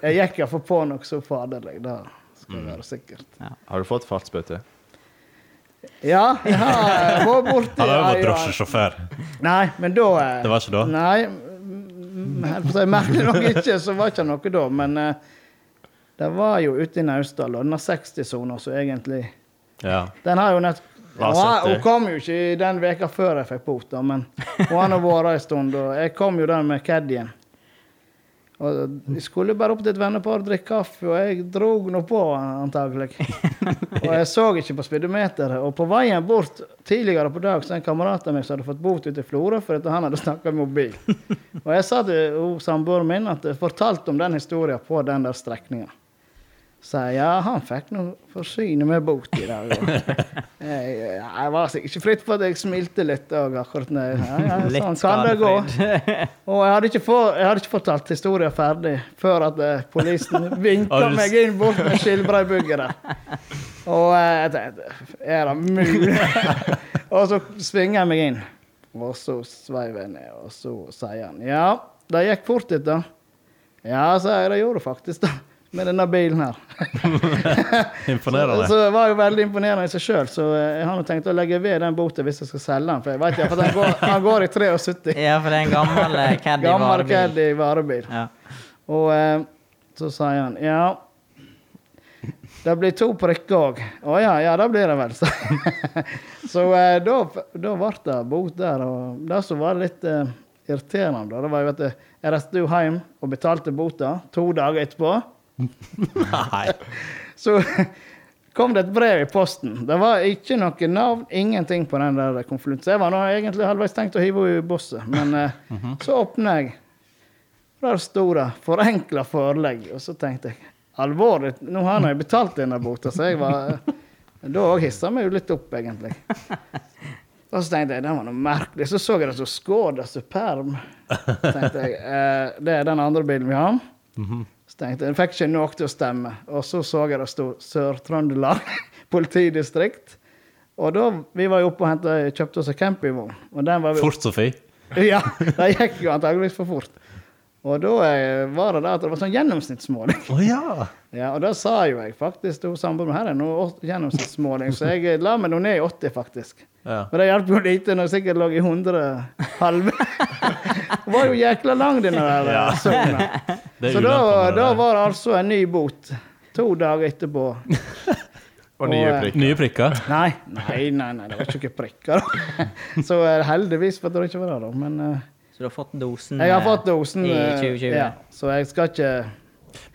A: Jeg gikk iallfall på noe så faderlig, det skal være sikkert.
D: Har du fått fartsbøte?
A: eh, Ja, jeg har vært borti
C: Han har jo
A: ja,
C: vært
A: ja.
C: drosjesjåfør.
A: Nei, men da eh,
C: Det var ikke da?
A: Nei, mm, jeg holdt på å si, merkelig nok ikke, så var ikke noe da. Men eh, det var jo ute i Naustdal, og den 60-sona, så egentlig
C: Ja.
A: Den har jo nett
C: var
A: Ja, hun
C: 70.
A: kom jo ikke i den veka før jeg fikk bot, da, men hun har nå vært en stund. Og jeg kom jo der med caddien. Og Vi skulle bare opp til et vennepar og drikke kaffe, og jeg drog nå på, antagelig. Og jeg så ikke på speedometeret. Og på veien bort tidligere på dag så en kamerat av meg som hadde fått bot ute i Florø fordi at han hadde snakka med mobil. Og jeg sa til hun samboeren min at jeg fortalte om den historien på den der strekninga. Så jeg, ja, han fikk nå forsyne med bot i dag. Og jeg, jeg var sikkert ikke fritt for at jeg smilte litt òg, akkurat når jeg- ja, ja, Sånn kan det gå. Og jeg hadde ikke, få- jeg hadde ikke fortalt historien ferdig før at eh, polisen
C: Har
A: vinka
C: du s-
A: meg inn bort med skilbreibugere. Og eh, jeg tenkte Er det mulig? og så svinger jeg meg inn, og så sveiver jeg ned, og så sier han Ja, det gikk fort, dette. Ja, sa jeg. Det gjorde det faktisk, da. Med denne bilen her. Så,
C: Imponerende.
A: så det var jo veldig imponerende i seg sjøl, så eh, jeg har nå tenkt å legge ved den boten hvis jeg skal selge den. For jeg vet ikke, for den går, han går i 73.
B: Ja, for det er en gammel eh, caddy
A: Gammel
B: varebil.
A: Caddy varebil.
B: Ja.
A: Og eh, så sier han ja Det blir to prikker òg. Å ja, ja, det blir det vel, så. så eh, da, da ble det bot der. Og det som var litt eh, irriterende, da, det var jo at jeg jeg reiste jo hjem og betalte bota to dager etterpå.
C: Nei.
A: Så kom det et brev i posten. Det var ikke noe navn, ingenting på den der konvolutten. Så jeg var nå egentlig halvveis tenkt å hive henne i bosset, men eh, så åpna jeg. Der sto det 'forenkla forelegg', og så tenkte jeg alvorlig, nå har jeg betalt denne bota, så jeg var Da òg hissa meg jo litt opp, egentlig. Og så tenkte jeg den var noe merkelig. Så så jeg det som Skoda Superm. Så tenkte jeg, eh, Det er den andre bilen vi har. Så tenkte jeg, jeg fikk ikke nok til å stemme. Og så så jeg det sto Sør-Trøndelag politidistrikt. Og da, vi var jo oppe og hentet, kjøpte oss en campingvogn. Og den var vi
C: Fort, Sofie.
A: ja, det gikk jo antageligvis for fort. Og da eh, var det det at det var sånn gjennomsnittsmåling.
C: Å ja!
A: Ja, og det sa jo jeg faktisk til samboeren min. Her er nå åt- gjennomsnittsmåling, så jeg eh, la meg nå ned i 80, faktisk.
C: Ja.
A: Men det hjalp jo lite når jeg sikkert lå i 100 halve. Det var jo jækla lang, den der ja.
C: Ja.
A: sona.
C: Det er
A: Så da,
C: ulempen med det
A: da
C: der.
A: var det altså en ny bot. To dager etterpå.
D: Og nye
A: Og, eh,
D: prikk.
C: Nye prikker.
A: Nei, nei, nei, nei det var ikke noen prikker. da. Så eh, heldigvis for at det ikke var det, da. Men eh,
B: Så du har fått dosen
A: Jeg har
B: eh,
A: fått dosen,
B: i
A: eh,
B: 2020?
A: ja, så jeg skal ikke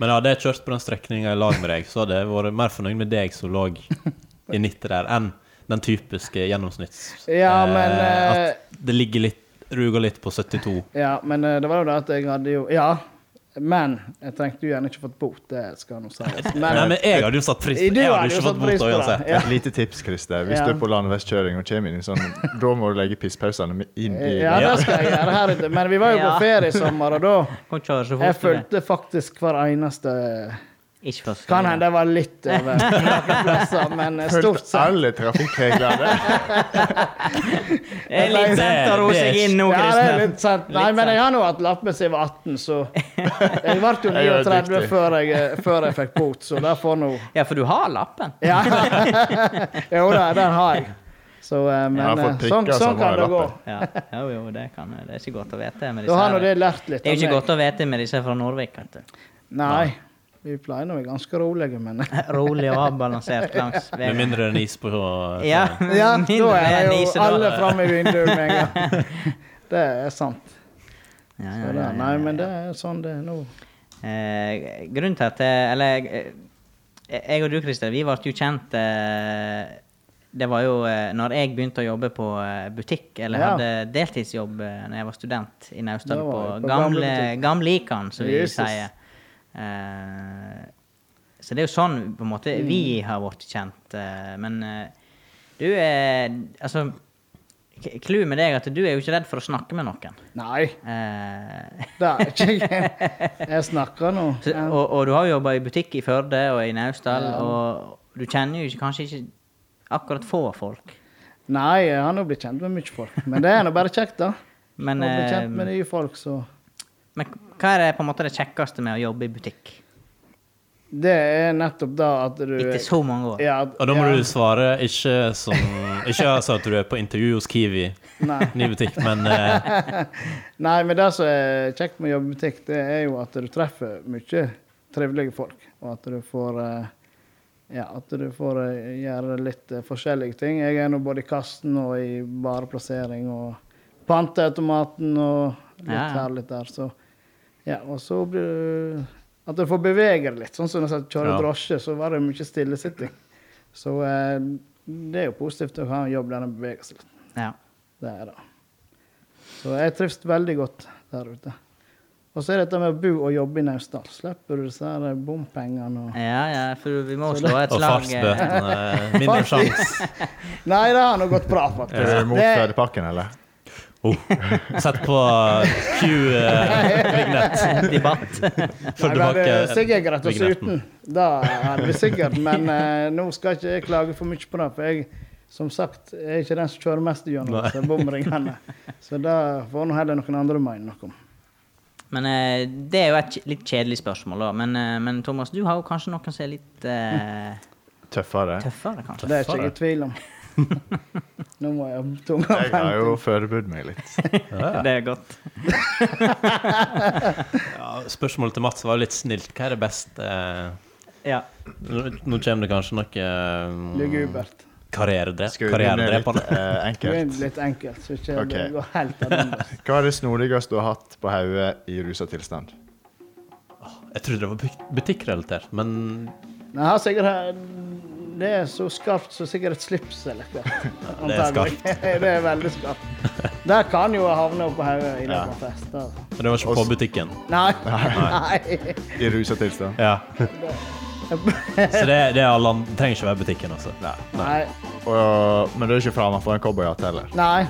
C: Men hadde jeg kjørt på den strekninga i lag med deg, så hadde jeg vært mer fornøyd med deg som lå i 90 der, enn den typiske gjennomsnitts...
A: Ja, men, eh,
C: at det ligger litt Ruger litt på 72.
A: Ja, men eh, det var jo det at jeg hadde jo Ja, men jeg trengte jo gjerne ikke fått bot, det skal nå sies.
C: Nei,
A: Men
C: men jeg hadde jo satt pris
A: Du hadde
C: Jeg hadde
A: jo
C: ikke
A: satt
C: fått
A: pris
C: bota
A: på det.
C: uansett.
A: Ja.
D: Et lite tips, Christer. Hvis
A: Ja.
D: du er på landevestkjøring og kommer inn i sånn, da må du legge pisspausene med- inn i
A: ja, det skal jeg gjøre her ute. Men vi var jo på
B: Ja.
A: ferie i sommer, og da
B: Kan kjøre så
A: Jeg
B: fort du vil.
A: fulgte faktisk hver eneste
B: Ikke for å skrive.
A: Kan hende jeg var litt over noen plasser, men eh, stort
D: Fulgt
A: sett
D: alle trafikkreglene.
B: Det er litt sent å roe seg inn nå,
A: Ja, det er
B: Kristian.
A: litt sant. Nei, men jeg har nå hatt lapp mens jeg var 18, så Jeg ble jo
D: Jeg er
A: 39
D: dyktig.
A: før jeg, eh, før jeg fikk bot, så det får nå
B: Ja, for du har lappen.
A: Ja. jo da, den har jeg. Så, eh, men
D: Jeg har fått
A: eh,
D: prikker
A: sånn, sånn
D: som
A: kan
D: har
A: det gå.
D: lappen.
B: Ja, jo, jo, det, kan, det er ikke godt å vite
A: Da
B: med disse
A: har nå
B: her.
A: det lært litt.
B: Det er jo
A: av
B: ikke
A: meg.
B: godt å vite med disse fra Norvik, vet du.
A: Nei. Vi pleier nå å være ganske rolige, men
B: Rolig og avbalansert langs
C: Med
B: veien.
C: mindre enn is på
B: Ja,
A: Ja, da
B: mindre
A: er
B: enn
A: jo
B: Nise, da.
A: alle framme i vinduet med en gang. Det er sant. Så
B: Ja, ja,
A: det,
B: ja, ja,
A: nei,
B: ja.
A: men det er sånn det er nå.
B: Eh, grunnen til at eh, Eller eh, jeg og du, Christer, vi ble jo kjent eh, Det var jo eh, når jeg begynte å jobbe på eh, butikk, eller
A: Ja.
B: hadde deltidsjobb eh, når jeg var student i Naustdal,
A: Da
B: på,
A: var det på gamle
B: gamle,
A: butikk.
B: Gamlikan, som vi
A: Jesus.
B: sier. Eh, så det er jo sånn på en måte vi
A: Mm.
B: har blitt kjent. eh, men eh, du er Altså, k- clouet med deg er at du er jo ikke redd for å snakke med noen.
A: Nei,
B: Eh,
A: det er ikke jeg. Jeg snakker nå.
B: Så,
A: Ja.
B: og, og du har jo jobba i butikk i Førde og i Naustdal,
A: Ja.
B: og du kjenner jo ikke, kanskje ikke akkurat få folk.
A: Nei, jeg har nå blitt kjent med mye folk. Men det er nå bare kjekt, da.
B: Men,
A: å bli kjent
B: eh,
A: med nye folk, så
B: men hva er det på en måte det kjekkeste med å jobbe i butikk
A: Det er nettopp da at du
B: etter så mange år?
A: Ja,
C: Og da må
A: ja,
C: du svare ikke som Ikke altså at du er på intervju hos Kiwi,
A: Nei.
C: ny butikk, men eh,
A: Nei, men det som er kjekt med å jobbe i butikk, det er jo at du treffer mye trivelige folk. Og at du får eh, Ja, at du får eh, gjøre litt eh, forskjellige ting. Jeg er nå både i kassen og i bareplassering og panteautomaten og litt
B: Ja, ja.
A: her litt der. Så, ja, og så blir du At du får bevege deg litt. Sånn som når jeg kjører
C: Ja.
A: drosje, så var det mye stillesitting. Så eh, det er jo positivt å ha en jobb der en beveger seg litt.
B: Ja.
A: Det er det. Så jeg trives veldig godt der ute. Og så er dette med å bo og jobbe i Naustdal. Slipper du disse her bompengene og
B: ja, ja, for vi må slå et
C: Og
B: slag. eh,
C: fartsbøtene. Mindre sjanse.
A: Nei, det har nå gått bra, faktisk.
E: Er du mot
A: Det-
E: ferdigpakken, eller?
C: Oh. Sett på Q-vignett.
B: eh, Debatt.
C: Får
A: Nei, men det er
C: tilbake
A: sikkert greit å se
C: vignetten.
A: uten. Da er det sikkert. Men eh, nå skal ikke jeg klage for mye på det. For jeg som sagt, jeg er ikke den som kjører mest gjennom
C: Nei.
A: disse bomringene. Så det får nå heller noen andre mene noe om.
B: Men eh, det er jo et kj- litt kjedelig spørsmål, da. Men, eh, men Thomas, du har jo kanskje noen som er litt eh,
E: Tøffere.
B: tøffere, kanskje?
A: Det er ikke jeg i tvil om. Nå må jeg ha tunga
E: Jeg har jo forberedt meg litt.
B: Det er godt.
C: Ja, spørsmålet til Mats var litt snilt. Hva er det beste eh,
B: Ja.
C: Nå nå kommer det kanskje noe eh,
A: Lugubert.
C: Karrieredrep.
E: Skal vi begynne litt
C: Karrieredrepende.
E: eh,
A: Det er
E: enkelt?
A: litt enkelt, så ikke
E: Ok.
A: det går helt ad undas.
E: Hva er det snodigste du har hatt på hodet i rusa tilstand?
C: Jeg trodde det var bu- butikkrelatert, men
A: Men jeg har sikkert eh, Det er så skarpt som sikkert et slips eller noe.
C: det er skarpt.
A: Antagelig. det er veldig skarpt. Der kan jo jeg havne oppå hodet i løpet av fest. da.
C: men det var ikke på butikken.
A: Nei. Nei.
E: I rusa tilstand?
C: Ja. Så det, det er alle andre. Det trenger ikke være butikken, altså.
A: Nei.
E: Og, men du er ikke framme for en cowboyhatt heller?
A: Nei.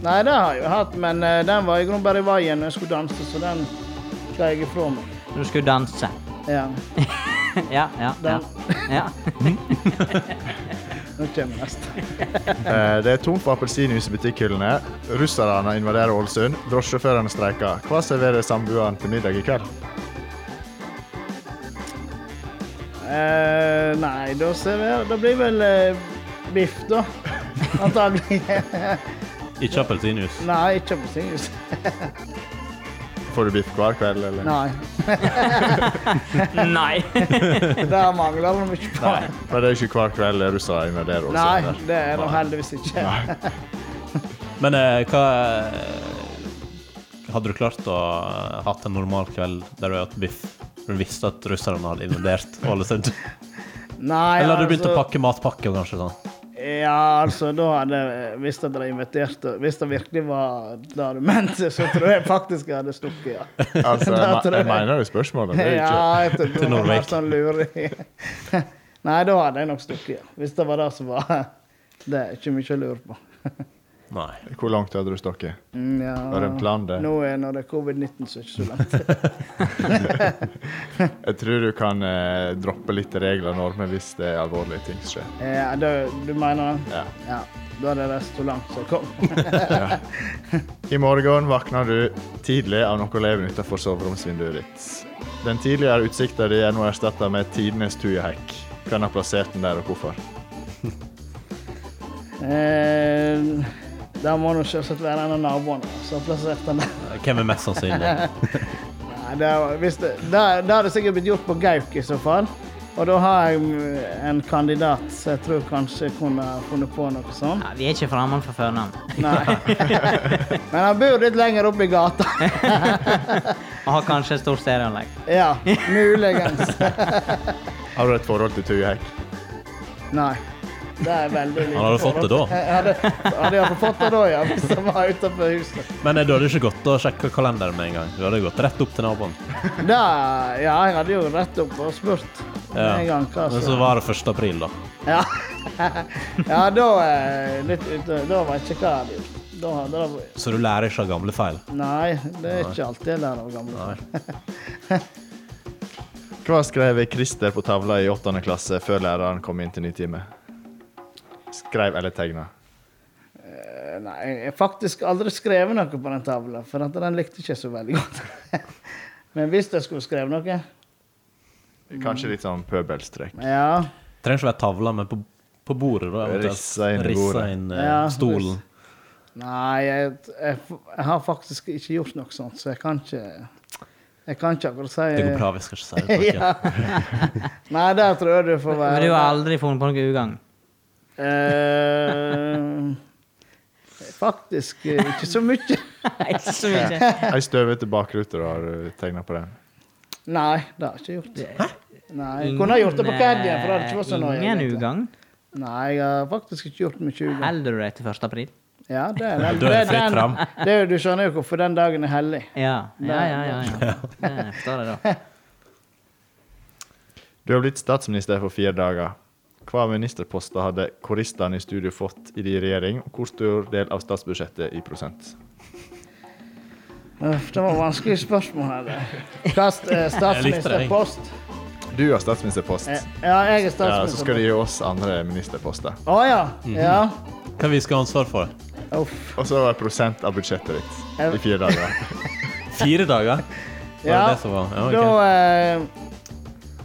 A: Nei, det har jeg jo hatt, men eh, den var i grunnen bare i veien når jeg skulle danse, så den la jeg ifra meg.
B: Du skulle danse.
A: Ja.
B: Ja, ja, ja. ja.
A: Nå kommer neste.
E: Eh, det er tomt for appelsinjuice i butikkhyllene. Russerne invaderer Ålesund. Drosjesjåførene streiker. Hva serverer samboeren til middag i kveld?
A: Eh, nei, da ser vi her. Det blir vel eh, biff, da. Antagelig.
C: Ikke appelsinjuice.
A: nei, ikke appelsinjuice.
E: Får du biff hver kveld, eller?
A: Nei.
B: Nei.
A: Der mangler det mye poeng.
E: Men det er ikke hver kveld russere invaderer
A: Nei,
E: Ålesund? eller?
A: det er det heldigvis ikke.
C: Men eh, hva eh, Hadde du klart å ha hatt en normal kveld der du hadde hatt biff? Du visste at russerne hadde invadert Ålesund?
A: Nei,
C: Eller hadde du begynt
A: altså-
C: å pakke matpakke og kanskje sånn?
A: Ja, altså, da hadde jeg Hvis jeg hadde invitert og Hvis det virkelig var det du mente, så tror jeg faktisk jeg hadde stukket, ja.
E: Altså, jeg,
A: Da tror
E: me- jeg
A: jeg-
E: mener det spørsmålet. Det er
A: ja
E: ikke.
A: jeg tror det
C: Til
A: var
C: Norvik.
A: mer sånn luring. Nei, da hadde jeg nok stukket, ja. Hvis det var det som var Det er ikke mye å lure på.
C: Nei.
E: Hvor langt hadde du stukket?
A: Mm, Ja,
E: Var det en plan, det?
A: Nå er når det er covid-19, så er det ikke så langt.
E: Jeg tror du kan eh, droppe litt regler og normer hvis det er alvorlige ting som skjer.
A: Ja, da, du mener det?
E: Ja.
A: Ja. Da er det det så langt som kom.
E: I morgen våkner du tidlig av noe levende utenfor soveromsvinduet ditt. Den tidligere utsikta di er nå erstatta med tidenes tujahekk. Hvem har plassert den der, og hvorfor?
A: Eh, det må nå selvsagt være en av naboene som har plassert den der.
C: Hvem er mest sannsynlig?
A: Nei, det, var- hvis det, det, det hadde sikkert blitt gjort på Gauk i så fall. Og da har jeg mm, en kandidat som jeg tror kanskje kunne funnet på noe sånt.
B: Ja, vi er ikke fremme for førnavn.
A: Nei. Men han bor litt lenger oppe i gata.
B: Og har kanskje et stort stereoanlegg.
A: Ja, muligens.
E: Har du et forhold til tujahekk?
A: Nei. Det er veldig lite
C: Han hadde fått det da.
A: Jeg Hadde, hadde jeg fått det da, ja. Hvis han var utenfor huset.
C: Men eh, du hadde ikke gått og sjekka kalenderen med en gang? Du hadde gått rett opp til naboen?
A: Da, ja, jeg hadde jo rett opp og spurt med
C: Ja.
A: en gang hva
C: Men så var det 1. april, da.
A: Ja, ja da, eh, litt ute, da var jeg ikke hva jeg hadde gjort. Da hadde det
C: Så du lærer ikke av gamle feil?
A: Nei, det er ikke alltid jeg lærer av gamle folk.
C: Nei.
E: Hva skrev Christer på tavla i åttende klasse før læreren kom inn til ny time? Skrev eller tegna?
A: Eh, Nei, jeg har faktisk aldri skrevet noe på den tavla, for at den likte ikke jeg så veldig godt. Men hvis jeg skulle skrevet noe
E: Kanskje litt sånn pøbelstrek.
A: Ja.
C: Trenger ikke være tavla, men på, på bordet, da. eventuelt.
E: Rissa inn i
C: Rissa
E: bordet.
C: inn eh,
A: Ja,
C: stolen.
A: Nei, jeg, jeg, f- jeg har faktisk ikke gjort noe sånt, så jeg kan ikke Jeg kan ikke akkurat si
C: Det går bra, vi skal ikke si det.
A: Ja. Nei, der tror jeg du får
B: Men du
A: være
B: har aldri funnet på noen ugagn?
A: Eh, Faktisk eh, ikke så mye.
B: Ikke så mye.
E: Ei støvete bakrute du har tegna på den.
A: Nei, det har jeg ikke gjort. Nei, jeg kunne ha gjort det på Cadien, for det hadde ikke vært så nøye.
B: eh, Ingen
A: egentlig.
B: ugagn.
A: Nei, jeg har faktisk ikke gjort mye ugagn.
B: Holder du deg til 1. april?
A: Ja, det er
C: Da er det fritt
A: den-
C: fram.
A: det er jo- Du skjønner jo hvorfor den dagen er hellig.
B: Ja. Ja, ja, ja. ja. Det forstår jeg da.
E: Du har blitt statsminister for fire dager. Hva ministerposter hadde koristene i studio fått i din regjering, og hvor stor del av statsbudsjettet i prosent?
A: Uff, Det var vanskelige spørsmål her. det. Kast eh, statsministerpost.
E: Du har statsministerpost.
A: Eh, Ja, jeg er
E: Ja, så skal
A: statsminister.
E: du gi oss andre ministerposter.
A: Å ja. Ja.
C: Hva vi skal ha ansvar for?
A: Uff.
E: Og så prosent av budsjettet ditt i fire dager.
C: Fire dager? Var
A: Ja.
C: det det som var? Ja, ok.
A: Da eh,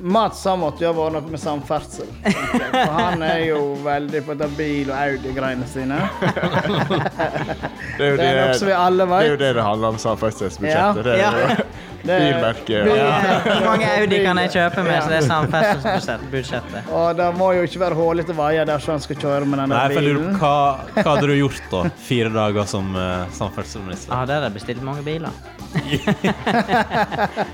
A: Mats han måtte jo ha vært noe med samferdsel. For han er jo veldig på dette bil- og Audi-greiene sine.
E: Det er jo
A: Det er noe som vi alle
E: det, er jo
A: vet.
E: det det handler om samferdselsbudsjettet. Det er
B: Ja.
E: jo bilmerket. Ja.
B: Eh, Hvor mange Audi kan jeg kjøpe med, så det er samferdselsbudsjettet?
A: Og det må jo ikke være hullete veier dersom han skal kjøre med denne
C: Nei, for jeg lurer på
A: bilen.
C: hva, hva hadde du gjort da? Fire dager som eh, samferdselsminister?
B: Ah, der er det bestilt mange biler.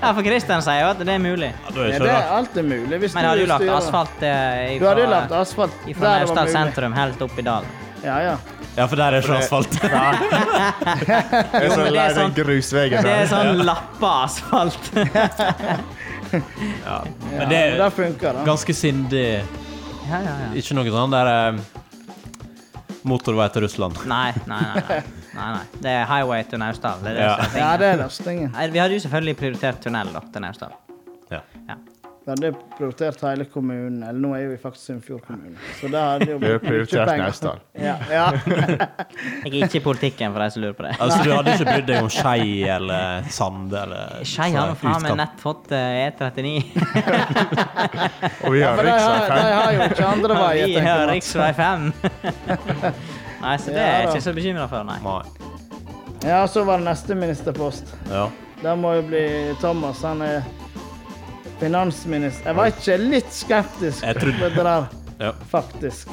B: Ja, for Kristian sier jo at det er mulig.
C: Ja, da
A: Ja,
C: er det
A: det
C: ikke
A: er
C: rart.
A: alt er mulig. Hvis
B: Men har du lagt
A: styrer.
B: asfalt eh,
A: Du hadde jo lagt
B: ifra,
A: asfalt
B: ifra
A: der det var
B: Naustdal
A: mulig.
B: sentrum helt opp i dalen?
A: Ja, ja.
C: Ja, for der er ikke asfalt.
E: Jeg er
B: Jo,
E: så
B: men det
E: lei
B: er
E: den
B: sånn-
E: grusveien
B: Det er
E: der.
B: sånn lappa asfalt.
C: Ja.
A: ja. men
C: Men det
A: det
C: er
A: funker, da.
C: ganske sindig.
B: Ja, ja, ja.
C: Ikke noe sånn der eh, motorvei til Russland.
B: Nei, nei, nei. nei. nei, nei. Det er highway til Naustdal. Det er det
C: Ja.
B: som er
A: Ja,
B: tingen.
A: det er løsningen.
B: Nei, Vi hadde jo selvfølgelig prioritert tunnel da, til Naustdal.
C: Ja.
B: Ja.
A: Vi hadde prioritert hele kommunen, eller nå er vi faktisk Sunnfjord kommune. Så det hadde jo
E: Vi har
A: blitt mye
E: prioritert
A: penger.
E: Naustdal.
A: Ja, ja.
B: Jeg er ikke i politikken, for de som lurer på det.
C: Altså, du hadde ikke brydd deg om Skei eller Sande eller
B: Skei har nå
C: sånn
B: faen meg
C: utkant.
B: nett fått eh, E39.
E: Og vi har
A: For de har,
E: riksvei
A: de har jo ikke andre veier,
B: Vi har
A: tenker jeg.
B: rv. 5. Nei, så det er jeg ikke så bekymra for, nei.
C: Nei.
A: Ja, så var det neste ministerpost.
C: Ja.
A: Det må jo bli Thomas. Han er finansminister. Jeg var ikke litt skeptisk
C: Jeg
A: på
C: trodde-
A: det der,
C: Ja.
A: faktisk.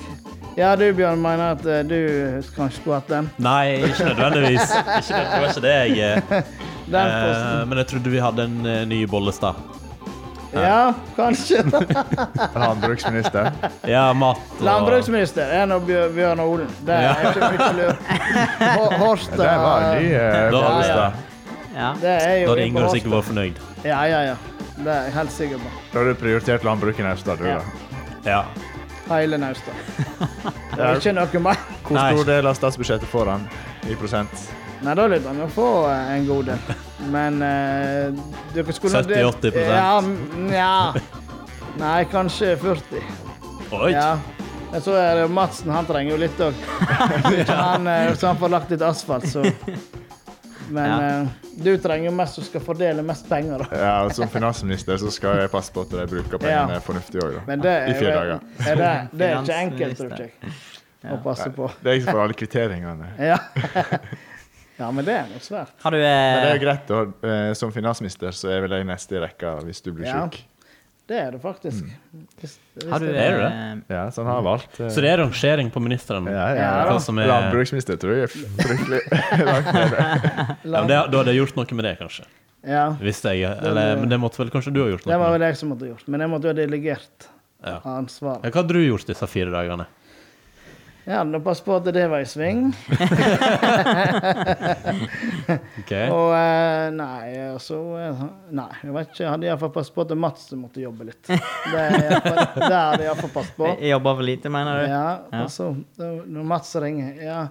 A: Ja, du Bjørn mener at eh, du kanskje skulle hatt den.
C: Nei, ikke nødvendigvis. Ikke, nød- det var ikke det jeg eh,
A: Den
C: eh,
A: posten.
C: Men jeg trodde vi hadde en eh, ny Bollestad.
A: Ja, kanskje.
E: landbruksministeren.
C: Ja, mat og
A: Landbruksminister er nå Bjør- Bjørn Olen. Det
C: Ja.
A: er ikke mye lurt. Ho- Horst
E: Det var
A: eh,
E: en ny eh,
C: Da-
E: Bollestad.
B: Ja.
A: Det er
C: Da
A: jo
C: hadde
A: inn på
C: Ingrid
A: Horst.
C: sikkert vært fornøyd.
A: Ja, ja, ja. Det er jeg helt sikker på.
E: Da har du prioritert landbruket i Naustdal, du,
A: Ja.
E: da.
C: Ja.
A: Hele Naustdal. Det er ikke noe mer.
E: Hvor
C: Nei.
E: stor del av statsbudsjettet får han i prosent?
A: Nei, da lytter han jo få eh, en god del. Men eh, dere skulle nå delt-
C: 70-80%.
A: Ja, mm, ja. Nei, kanskje 40.
C: Oi.
A: Ja. Men så er det jo Madsen, han trenger jo litt òg. Han, eh, så han får lagt litt asfalt, så Men
B: Ja.
A: eh, du trenger jo mest som skal fordele mest penger, da.
E: Ja, og Som finansminister så skal jeg passe på at de bruker pengene
A: Ja.
E: fornuftig òg, da.
A: Men det
E: I
A: er,
E: fire
A: jo-
E: dager.
A: er, det, det er ikke enkelt,
B: Finansminister.
A: tror ikke jeg, å passe på.
E: Det er jeg som får alle kvitteringene.
A: Ja. ja, men det er nok svært.
B: Har du
E: Men det er
B: eh,
E: jo greit, da. Eh, Som finansminister så er vel jeg neste i rekka hvis du blir
A: Ja.
E: syk.
A: Det er det faktisk.
E: Mm.
A: Hvis, hvis
B: Har du,
A: det-
C: Er du det?
B: eh,
E: Ja, så han har valgt eh,
C: Så det er rangering på ministeren?
E: ja, ja,
A: Ja,
E: ja.
C: Hva som er-
E: Landbruksminister tror jeg er fryktelig langt nede.
C: Ja, men det, da hadde jeg gjort noe med det, kanskje.
A: Ja.
C: Hvis jeg, eller, men det måtte vel kanskje du ha gjort
A: Det
C: noe
A: var
C: med?
A: vel jeg som måtte gjort, men jeg måtte jo ha delegert
C: Ja. Ja,
A: ansvaret.
C: Hva hadde du gjort disse fire dagene?
A: Ja, men pass på at det var i sving.
C: Ok.
A: Og eh, nei, og så eh, Nei, jeg vet ikke. Jeg hadde iallfall passet på at Mats måtte jobbe litt. Det, er i hvert fall- det hadde jeg iallfall passet på.
B: eh, jeg jobber for lite, mener du?
A: Ja, og så da- Når Mats ringer Ja,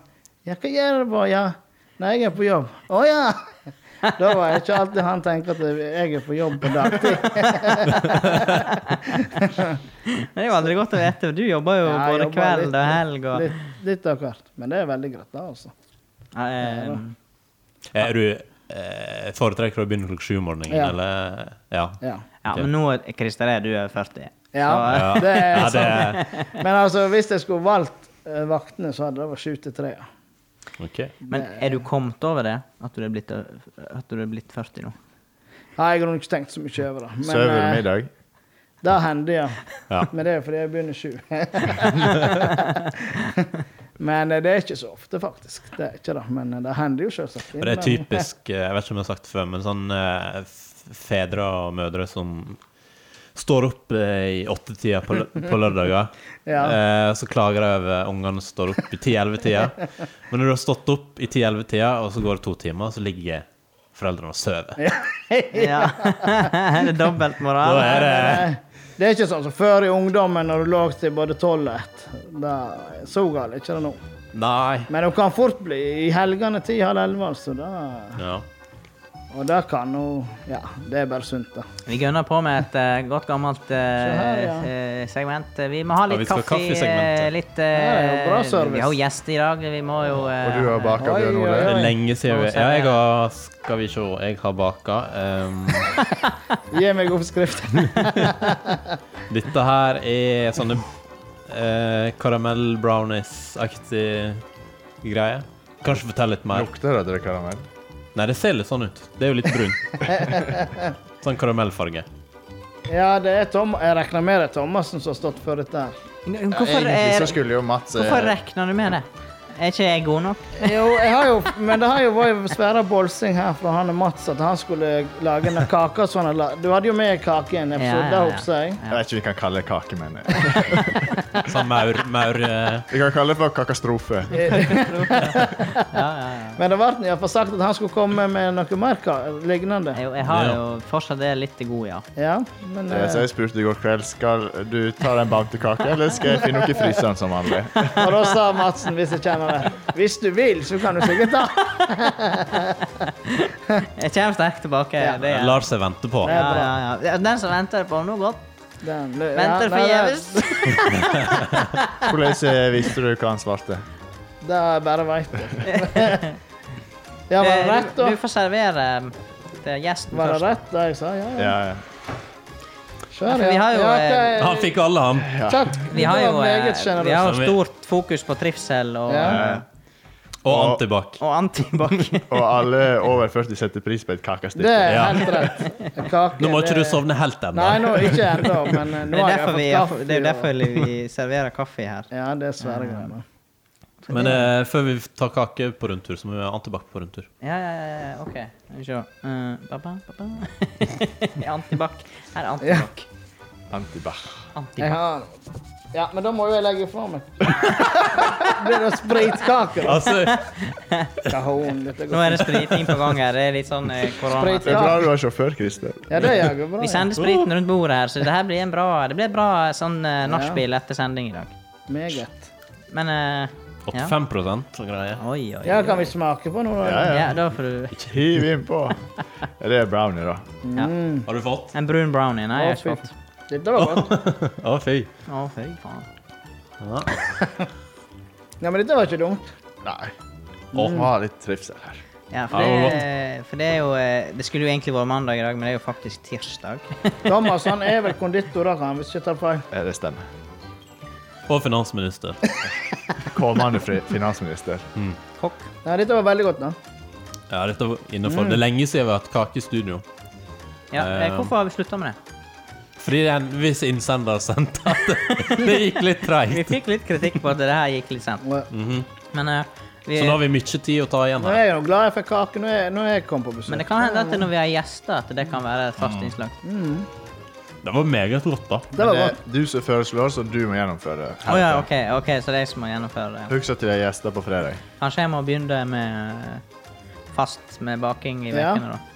A: ja hva gjør du på? Ja, nei, jeg er på jobb. Å ja! Da var det ikke alltid han tenker at jeg er på jobb på dagtid.
B: Det er jo aldri godt å vite. Du jobber jo
A: Ja, jeg
B: både
A: jobber
B: kveld
A: litt-
B: og helg og
A: Litt, litt av hvert. Men det er veldig greit, da, altså.
B: Eh,
C: Er du eh, foretrekker å begynne klokka sju om morgenen,
A: Ja.
C: eller? Ja.
A: Ja.
B: Ja, men nå, Christer, er du er 40. eh,
A: Ja.
C: Ja.
A: Det er
C: ja, det
A: sant.
C: er
A: Men altså, hvis jeg skulle valgt eh, vaktene, så hadde det vært sju til tre. ja.
C: Ok.
A: sånn.
B: eh, Men er du kommet over det? At du er blitt, at du er blitt 40 nå?
A: Nei, jeg har nok ikke tenkt så mye over det.
E: Sover du
A: eh,
E: middag?
A: det hender, ja.
C: Ja.
A: Men det er fordi jeg begynner sju. men eh, det er ikke så ofte, faktisk. Det er ikke det. Men eh, det hender jo selvsagt.
C: Og det er
A: innimellom.
C: typisk eh, Jeg vet ikke om jeg har sagt det før, men sånn eh, f- fedre og mødre som står opp eh, i åttetida på, lø- på lørdager.
A: Ja.
C: Eh, så klager de over ungene som står opp i ti-elleve-tida. Men når du har stått opp i ti-elleve-tida, og så går det to timer, så ligger foreldrene og sover.
B: Ja. er det dobbeltmoral?
C: Da er det
A: Nei, Det er ikke sånn som før i ungdommen, når du lå til både tolv og ett. Da- Så galt er ikke det nå.
C: Nei.
A: Men hun kan fort bli i helgene ti halv elleve, altså. Da,
C: Ja.
A: og det kan hun Ja, det er bare sunt, da.
B: Vi gønner på med et eh, godt gammelt eh,
A: her, ja.
B: eh, segment. Vi må ha
C: Ja, vi
B: litt
C: skal ha
B: kaffe. eh,
C: kaffesegmentet.
B: litt,
A: Ja, ja, bra
B: eh,
A: service.
B: vi har jo gjester i dag. Vi må jo eh,
E: Og du har baka, Bjørn Ole?
C: Det
A: Oi.
C: er lenge siden vi Ja, jeg har Skal vi se, jeg har baka. Um,
A: Gi meg oppskriften.
C: dette her er sånne eh, karamell-brownies-aktig greie. Kanskje fortell litt mer.
E: Lukter det at det er karamell?
C: Nei, det ser litt sånn ut. Det er jo litt brun. Sånn karamellfarge.
A: Ja, det er Tom Jeg regner med det er Thomassen som har stått for dette. her.
B: Hvorfor,
E: Egentlig så
B: er,
E: skulle jo Mats eh,
B: hvorfor regner du med det? Er ikke jeg god nok?
A: Jo, jeg har jo, men det har jo vært svære bolsing her fra han og Mats at han skulle lage en kake. og Sånn, han la- du hadde jo med kake i en episode,
B: Ja, ja,
A: det
B: ja.
A: håper jeg.
E: Jeg vet ikke om vi kan kalle det kake, men eh,
C: Sånn maur... maur eh,
E: Vi kan kalle det for kakastrofe.
A: Men det ble iallfall sagt at han skulle komme med noe mer ka- lignende.
B: Jeg, jeg har
C: Ja.
B: jo fortsatt det litt til god, ja.
A: Ja, men
E: Eh, Så
A: eh,
E: jeg spurte i går kveld skal du ta deg en bamtekake, eller skal jeg finne noe i fryseren som vanlig.
A: Og da sa Madsen, hvis jeg kjenner det Hvis du vil, så kan du sikkert ta.
B: Jeg kommer sterkt tilbake. det er-
C: lar seg vente på.
B: ja, ja, ja. Den som venter på noe godt,
A: Den, ja,
B: venter
A: nei, det-
B: forgjeves.
E: Hvordan eh, visste du hva han svarte?
A: Det er bare veit du. Ja, var det
B: Eh,
A: rett,
B: Du,
A: da?
B: du får servere eh, til gjesten
A: Var det
B: først.
A: rett, det jeg sa? Ja, ja.
E: Ja, ja.
A: Kjør,
B: for vi har jo, eh,
A: ja.
C: Han fikk alle, han.
A: ok, Takk.
B: Vi har jo, eh,
A: meget
B: vi har
A: sjenerøst.
B: jo stort fokus på trivsel og, eh,
A: Ja.
C: Og antibac.
B: og antibac.
E: Eh, Og alle over 40 setter pris på et kakestykke.
A: Det er
C: Ja.
A: helt rett. Kake,
C: Nå må ikke du
A: det-
C: sovne helt ennå.
A: Nei, nå, ikke ennå, men eh,
B: Det
A: nå
B: er
A: har
B: derfor vi,
A: jeg fått kaffe.
B: det er
A: og-
B: derfor vi serverer kaffe her.
A: Ja, det er svære greier. da.
C: Men eh, før vi tar kake på rundtur, så må vi ha antibac på rundtur.
B: Ja, ja, ja, ja, OK. Skal vi se. Eh, ba-ba, ba-ba. antibac. Her er antibac.
E: Antibach.
A: Jeg
B: antibac.
A: har Ja, men da må jo jeg legge fra meg. Blir det spritkake, da?
C: Altså,
A: Kahon, dette
B: Nå
A: går.
B: er det spriting på gang her. Det er litt sånn eh, korona.
E: Det er bra du er sjåfør, Christer.
A: Ja, det gjør jeg bra.
B: Vi
A: ja.
B: sender spriten rundt bordet her, så det her blir en bra, det blir et bra eh, sånn eh, nachspiel etter sending i dag.
A: Meget.
B: Men eh, ja.
C: 85 og greier.
B: Oi, oi,
A: Ja,
B: oi.
A: kan vi smake på noe? da?
E: Ja, ja.
B: Ja, da får du
E: Hiv innpå. Ja, Det er brownie, da.
A: Mm.
C: Har du fått?
B: En brun brownie. Nei, jeg
A: Å,
B: har ikke
A: fy-
B: fått.
A: Dette var godt.
C: Å, fy.
B: Å, fy faen.
C: Ja.
A: Ja, men dette var ikke dumt.
E: Nei. Å, ha litt trivsel her.
B: Ja, for
C: Ja, det var
B: det, for det er jo eh, Det skulle jo egentlig vært mandag i dag, men det er jo faktisk tirsdag.
A: Thomas han er vel konditor, da, kan han, hvis jeg tar feil.
E: Ja, det stemmer.
C: Og finansminister.
E: Kommende fri finansminister.
B: Kokk.
A: Nei, dette var veldig godt, da.
C: Ja, dette var innenfor. Det er lenge siden vi har hatt kake i studio.
B: Ja, eh,
C: Eh,
B: hvorfor har vi slutta med det?
C: Fordi det er en viss innsender sendte at det- det gikk litt
B: Vi
C: treigt.
B: fikk litt kritikk på at det her gikk litt sent. Men, eh, vi,
C: Så nå har vi mye tid å ta igjen
A: Nå er
C: her.
A: jeg jo glad jeg fikk kake når jeg, når jeg kom på besøk.
B: men det kan hende at når vi har gjester, at det kan være et fast innslag.
C: Det var meget godt, da.
A: det var
E: Det
A: godt.
E: er du som foreslår, så du må gjennomføre.
B: Å ja, OK, ok, så det er jeg som må gjennomføre det.
E: Husk at det er gjester på fredag.
B: Kanskje jeg må begynne med eh, fast med baking i
A: Ja.
B: ukene, da.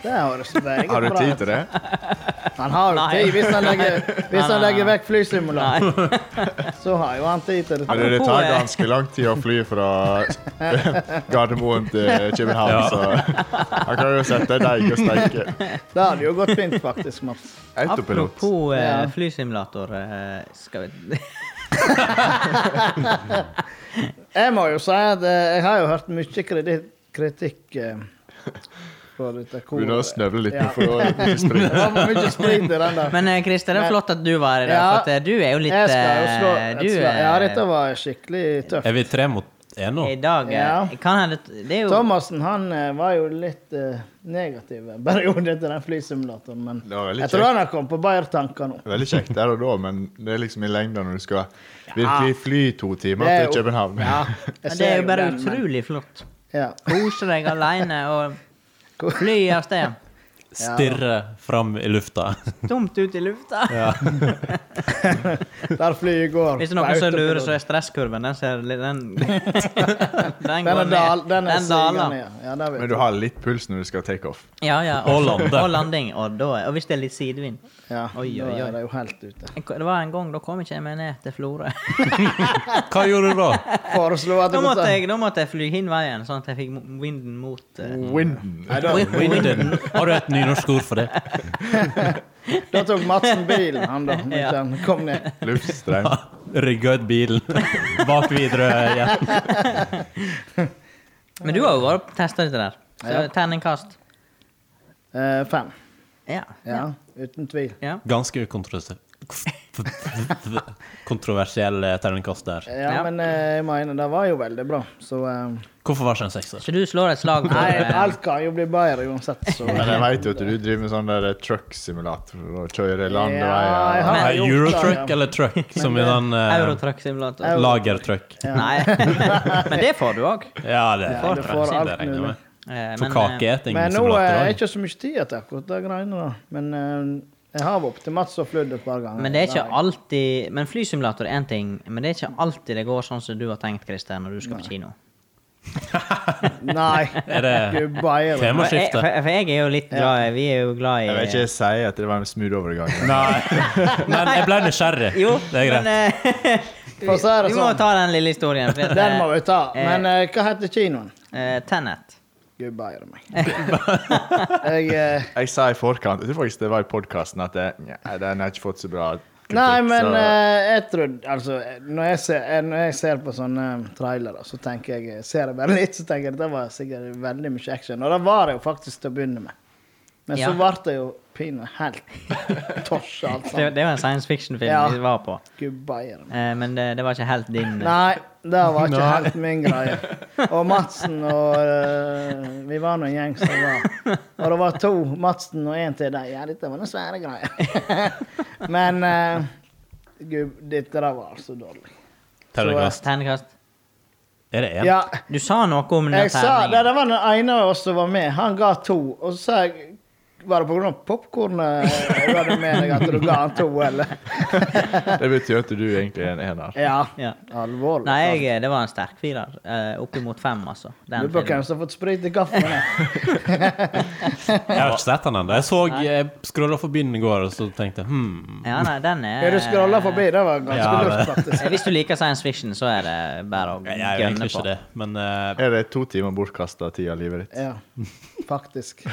A: Det høres veldig bra
E: Har du tid
A: ut.
E: til det?
A: Han har jo
B: Nei.
A: tid hvis han legger, hvis han legger vekk
B: Nei.
A: flysimulatoren. Så har jo han tid til det.
E: Men det
B: Apropos,
E: tar
B: eh,
E: ganske lang tid å fly fra Gardermoen til København,
C: Ja.
E: så han kan jo sette deg og steike.
A: Det hadde jo gått fint, faktisk. Mats.
E: Autopilot.
B: Apropos eh,
A: Ja.
B: flysimulator eh, skal vi...
A: Jeg må jo si at eh, jeg har jo hørt mye kredi- kritikk eh, for dette koret.
E: Begynner å snøvle litt.
A: Ja.
E: nå, for å springe.
A: Det var for mye sprit i den der.
B: Men eh, Christer, det er
A: Men-
B: flott at du var her i dag,
A: Ja,
B: for at eh, du er jo litt
A: Jeg skal jo slå
B: eh,
A: et
B: du,
A: slag. Ja,
B: eh,
A: dette var skikkelig tøft.
C: Er vi tre mot er nå.
B: I dag eh,
A: Ja.
B: kan hende Det er jo
A: Thomassen han eh, var jo litt eh, negativ en periode til den flysimulatoren, men
E: Det var veldig
A: jeg tror han har kommet på bedre tanker nå.
E: Veldig kjekt der og da, men det er liksom i lengda når du skal virkelig fly to timer
A: Det er
E: til
A: jo-
E: København.
A: Ja,
B: Men det er jo bare
A: den, men-
B: utrolig flott.
A: Ja.
B: Kose deg aleine og fly av sted.
C: Stirre fram i lufta.
B: Dumt ut i lufta.
A: Der flyet går.
B: Hvis
A: på
B: det er noen som
A: autopilot.
B: lurer, så er stresskurven den ser litt Den, den,
A: Den
B: går
A: er, dal,
B: ned.
A: den er
B: daler.
A: sigende, ja. ja der vet
E: Men du har litt puls når du skal take off.
B: Ja, ja.
C: Og lande.
B: Og landing. Og, da, og hvis det er litt sidevind.
A: Ja,
B: Oi, oi,
A: Da
B: oi.
A: er det jo helt ute.
B: En- Det var en gang da kom ikke jeg meg ned til Florø.
C: Hva gjorde du da?
A: Foreslo at
B: Da
A: du
B: måtte
A: måtte
B: jeg, da måtte jeg fly hin veien, sånn at jeg fikk mo- vinden mot eh,
E: Winden.
A: Nei, da,
C: Winden. Har du et nynorsk ord for det?
A: da tok Madsen bilen, han da. Når
B: Ja.
A: han kom ned.
E: Luftstrøm.
C: Rygga ut bilen bak Widerøe igjen.
B: Men du har jo vært og testa dette der. Så
A: Ja.
B: terningkast.
A: Eh, fem.
B: Ja. ja.
A: Ja, uten tvil.
B: ja.
C: Ganske ukontroversiell Kontroversiell eh, terningkast der.
A: Ja,
B: Ja.
A: men eh, jeg mener, det var jo veldig bra, så eh,
C: Hvorfor var det ikke en sekser?
B: Så du slår et slag for
A: Nei,
B: eh,
A: alt kan jo bli bedre uansett, så
E: Men jeg veit jo at du driver med sånn der truck-simulator og kjører
A: Ja, jeg
E: landeveier.
A: har-
C: Nei,
A: gjort
C: Eurotruck
A: det, ja.
C: eller truck, som i den uh,
B: Eurotruck-simulator.
C: lagertruck.
B: Eh, Nei. Men det får du òg.
C: Ja, det
A: Ja, du får alt mulig.
B: Eh, men,
C: For
B: eh,
A: Men nå eh, er
C: kakeeting-simulator
A: det ikke så mye tid til akkurat de greiene, da. Men eh, jeg har vært opp til Mats og flydd et par ganger.
B: men det er ikke
A: Der.
B: alltid Men flysimulator er én ting, men det er ikke alltid det går sånn som du har tenkt, Christer, når du skal på kino.
A: Nei.
C: Er det
A: Gud, bedre.
C: tema? må
B: For jeg,
C: skifte.
B: for, for jeg er jo litt glad i Vi er jo glad i
E: Jeg vet ikke, jeg sier at det var en smooth overgang.
C: Nei. Men jeg ble nysgjerrig.
B: Jo,
C: det er greit.
B: men eh,
A: For å si det
B: Vi må
A: sånn.
B: ta den lille historien. for at,
A: Den må vi ta.
B: eh,
A: Men eh, hva heter kinoen?
B: eh, Tenet.
A: Gud bedre meg. Jeg eh,
E: Jeg sa i forkant, jeg tror faktisk det var i podkasten, at det, nei, den har ikke fått så bra kritikk.
A: Nei, men
E: så-
A: eh, jeg trodde Altså, når jeg, ser, eh, når jeg ser på sånne eh, trailere, så tenker jeg eh, Ser jeg bare litt, så tenker jeg at det var sikkert veldig mye action. Og det var det jo faktisk til å begynne med. Men
B: Ja.
A: så ble det jo pinadø helt torsk, altså. alt
B: Det,
A: sammen.
B: det var en science fiction-film
A: Ja.
B: vi var på,
A: Gud bedre meg.
B: eh, men det, det var ikke helt din. eh.
A: Nei, det var ikke
E: Nei.
A: helt min greie. Og Madsen og eh, Vi var nå en gjeng som var Og det var to Madsen og en til deg. Ja, dette var noen svære greier. Men eh, gud, dette der var altså dårlig.
C: Terningkast.
B: Terningkast.
C: Er det én?
A: Ja,
B: Du sa noe om den
A: jeg sa det,
B: terningen.
A: det var den ene av oss som var med. Han ga to. Og så sa jeg Var det pga. popkornet du hadde med deg at du ga han to, eller? eh,
E: Det betyr at du egentlig er en ener.
A: Ja.
B: Ja.
A: Alvorlig.
B: Nei, jeg, eh, det var en sterk firer. Eh, Oppimot fem, altså. Den
A: Lurer på hvem
B: filmen.
A: som har fått sprit i kaffen. her.
C: Jeg har ikke sett den ennå. Jeg så jeg scrolla forbi den i går, og så tenkte jeg hmm.
B: Ja, nei, den er
A: Ja, du scrolla forbi. Det var ganske
C: Ja,
A: lurt,
C: det-
A: faktisk.
B: Eh, Hvis du liker science fiction, så er det bare å
C: Jeg er jo
B: gønne
C: egentlig
B: på.
C: ikke det, men eh,
E: Er det to timer bortkasta tid av livet ditt?
A: Ja, faktisk.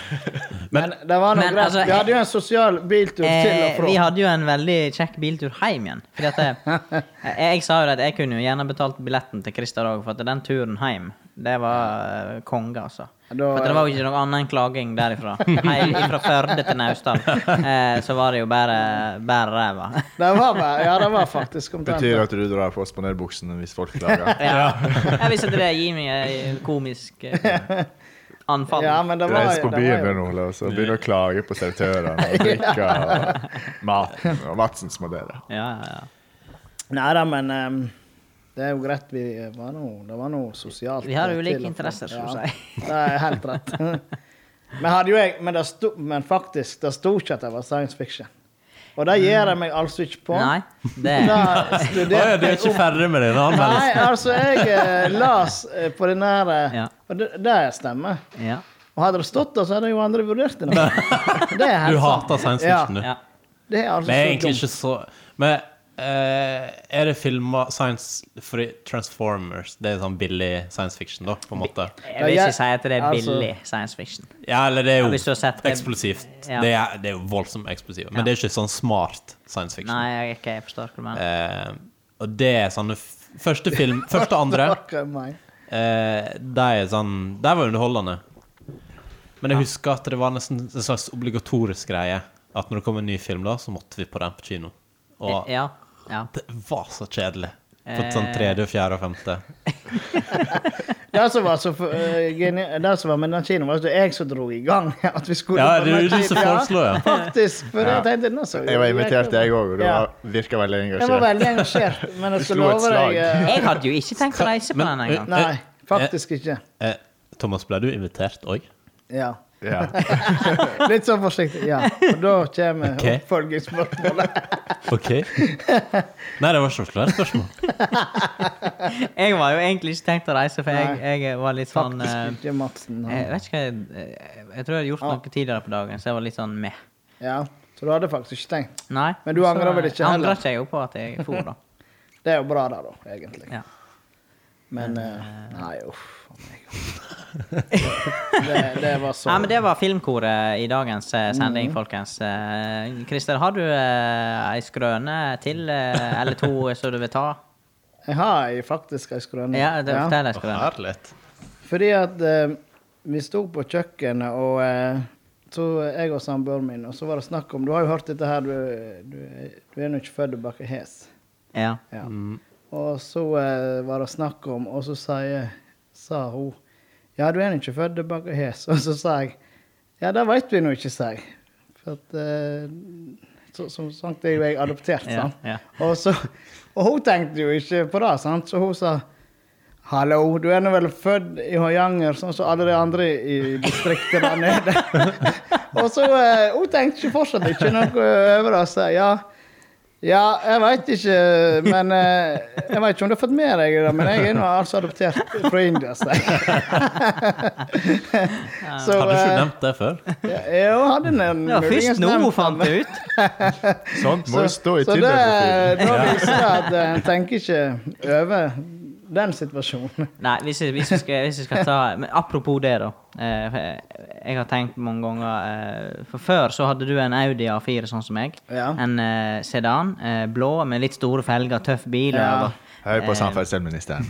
A: Men, det var noe
B: Men,
A: greit.
B: altså,
A: vi hadde jo en sosial biltur til og
B: Eh,
A: fra.
B: vi hadde jo en veldig kjekk biltur hjem igjen. Fordi at jeg, jeg, jeg sa jo at jeg kunne jo gjerne betalt billetten til Christer òg, for at den turen hjem, det var eh, konge, altså.
A: Da-
B: for at det var jo ikke noe annet enn klaging derifra. Heil, fra Førde til Naustdal. Eh, så var det jo bare, bare ræva.
A: Det var, bare- ja, det var faktisk omtrent
E: Betyr
A: det.
E: det at du drar på å spandere buksene hvis folk klager?
B: Ja. Jeg visste at det gir meg et komisk eh, anfall.
A: Ja, men det var,
E: Reis på
A: det var
E: byen
A: jo
E: med Ole og så begynne å klage på servitørene og drikka og maten. Og Madsens må dele.
B: Ja, ja, ja.
A: Nei da, men ehm, det er jo greit. Vi var noe, det var noe sosialt. eh,
B: Vi har
A: til
B: ulike
A: og fra.
B: interesser, skal du
A: Ja,
B: si.
A: Det er helt rett. men, hadde jo jeg, men, det sto, men faktisk, det sto ikke at det var science fiction. Og det gir jeg meg altså ikke på.
B: Mm. Nei, det
A: Da
C: Å ja, du
A: studerte
C: er ikke ferdig med din
A: Nei,
C: anmeldelse?
A: altså, jeg eh, las eh, på den der eh,
B: Ja.
A: Og det, det stemmer.
B: ja.
A: Og hadde det stått der, så hadde jo andre vurdert det. Det er helt
C: Du
A: sant.
C: hater science
A: Ja.
C: fiction, du.
B: ja.
A: Det er altså
C: Men jeg er
A: så
C: egentlig
A: dumt.
C: ikke så Men eh, er det filma science for Transformers? Det er sånn billig science fiction, da, på en måte?
B: Jeg vil ikke si at det er
A: Altså-
B: billig science fiction.
C: Ja, eller det er
B: Ja, hvis du
C: jo
B: har sett det-
C: eksplosivt.
B: Ja.
C: Det, er, det er jo voldsomt eksplosivt. Men
B: Ja.
C: det er ikke sånn smart science fiction.
B: Nei, jeg, er ikke- jeg forstår hva du mener.
C: Eh, og det er sånne f Første film, første og andre,
A: Fuck meg.
C: eh, de er sånn De var underholdende. Men jeg husker at det var nesten en slags obligatorisk greie. At når det kom en ny film, da, så måtte vi på den på kino. Og
B: Ja. ja. Eh.
C: det var så kjedelig. På sånn tredje, fjerde og femte.
A: Det som var så eh, geni- det som var med den kinoen, var at det var jeg som dro i gang at vi skulle
C: Ja,
A: på
C: det er
A: den
C: jo du som
A: kinoen.
C: foreslår, ja.
A: Faktisk. For
E: Ja.
A: jeg tenkte nå så
E: Jeg var invitert, jeg òg, og du
A: Ja.
E: var- virka veldig
A: Jeg var
E: engasjert.
A: veldig engasjert, men jeg skal
E: slo et
A: love
E: slag.
A: deg eh,
B: Jeg hadde jo ikke tenkt å reise på
C: Men-
B: den engang.
A: Nei, faktisk ikke.
C: Eh, Thomas, ble du invitert òg?
A: Ja.
E: Ja.
A: Litt sånn forsiktig. Ja. Og da kommer
C: Ok.
A: oppfølgingsspørsmålet.
C: OK. Nei, det var ikke noe klart spørsmål.
B: Jeg var jo egentlig ikke tenkt å reise, for jeg, jeg var litt sånn eh,
A: Faktisk ikke Madsen. han.
B: Jeg vet ikke hva jeg, eh, jeg tror jeg hadde gjort noe tidligere på dagen, så jeg var litt sånn meh.
A: Ja. Så du hadde faktisk ikke tenkt.
B: Nei.
A: Men du
B: så,
A: angrer vel
B: eh,
A: ikke heller?
B: Angrer ikke jeg jo på at jeg for, da.
A: Det er jo bra, da, da, egentlig.
B: Ja.
A: Men eh, Nei, uff. faen meg. Det, det var så Mm.
B: Nei, men det var Filmkoret i dagens eh, sending, folkens. Eh, Christer, har du eh, ei skrøne til, eh, eller to, eh, som du vil ta?
A: Jeg har ei faktisk ei skrøne.
B: Ja, det, fortell ei
C: Å,
B: skrøne.
C: Herlig.
A: Fordi at eh, vi sto på kjøkkenet, og eh, så jeg og samboeren min, og så var det snakk om Du har jo hørt dette her, du, du, du er nå ikke født og baker hes.
B: Ja.
A: Ja.
B: Mm.
A: Og så eh, var det snakk om, og så sier, sa hun Ja, du er nå ikke født og baker hes. Og så sa jeg Ja, det veit vi nå ikke, sa jeg. For at eh, så, Som sagt er jo jeg adoptert,
B: Ja,
A: sant.
B: ja.
A: Og, så, og hun tenkte jo ikke på det, sant? så hun sa Hallo, du er nå vel født i Høyanger, sånn som alle de andre i distriktet der nede. og så eh, Hun tenkte ikke fortsatt ikke noe over det. og sa, Ja, ja jeg veit ikke, men eh, Jeg vet ikke om du har fått med deg det, men jeg er nå altså adoptert fra India, sa jeg. så
C: Hadde ikke du
A: eh,
C: nevnt det før?
A: ja, jo, hadde den
B: Det var først nå hun fant det ut.
E: Sånt må jo stå i
A: så det,
E: Tinder-profilen.
A: da viser det at eh, en tenker ikke over den situasjonen.
B: Nei, hvis jeg, hvis jeg, skal, hvis jeg skal ta men Apropos det, da. Eh, jeg har tenkt mange ganger eh, For før så hadde du en Audi A4 sånn som meg.
A: Ja.
B: En eh, sedan. Eh, blå med litt store felger, tøff bil.
A: Ja.
B: og-
E: Høy på samferdselsministeren.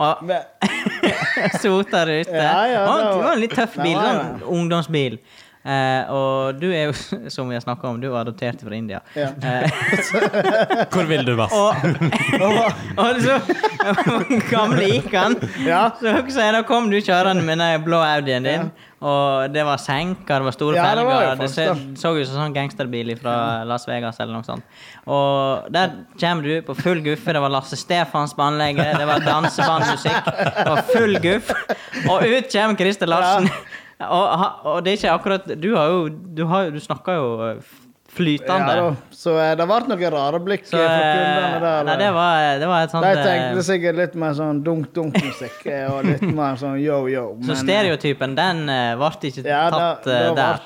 B: Og
A: Men-
B: sota der ute.
A: Ja, ja,
B: Å,
A: det var-
B: det var en litt tøff
A: det
B: bil.
A: var
B: Sånn ungdomsbil. Eh, og du er jo, som vi har snakka om, du er adoptert fra India.
A: Ja.
B: Eh,
C: Hvor vil du, Mads?
B: og, og så gamle gikk han.
A: Ja.
B: Så hun sier da kom du kjørende med den blå Audien din. Og det var senka, det var store
A: Ja, det var jo
B: felger. Det
A: faktisk
B: så,
A: det.
B: så ut som sånn gangsterbil fra Las Vegas eller noe sånt. Og der kommer du på full guffe. Det var Lasse Stefans på anlegget, det var dansebandmusikk. Det var full guff. Og ut kommer Christer Larsen. Og, ha- og det er ikke akkurat Du har jo Du, har, jo- du snakker jo eh, flytande.
A: Ja, da. så eh, det ble noen rare blikk
B: Så,
A: eh, fra
B: eh,
A: kundene der.
B: nei, det var, det var et sånt
A: De
B: eh,
A: tenkte liksom, sikkert litt mer sånn dunk-dunk-musikk eh, og litt mer sånn yo-yo.
B: Så stereotypen, den eh, ble ikke
A: ja, da,
B: tatt
A: da
B: eh,
A: ble
B: der. Eh.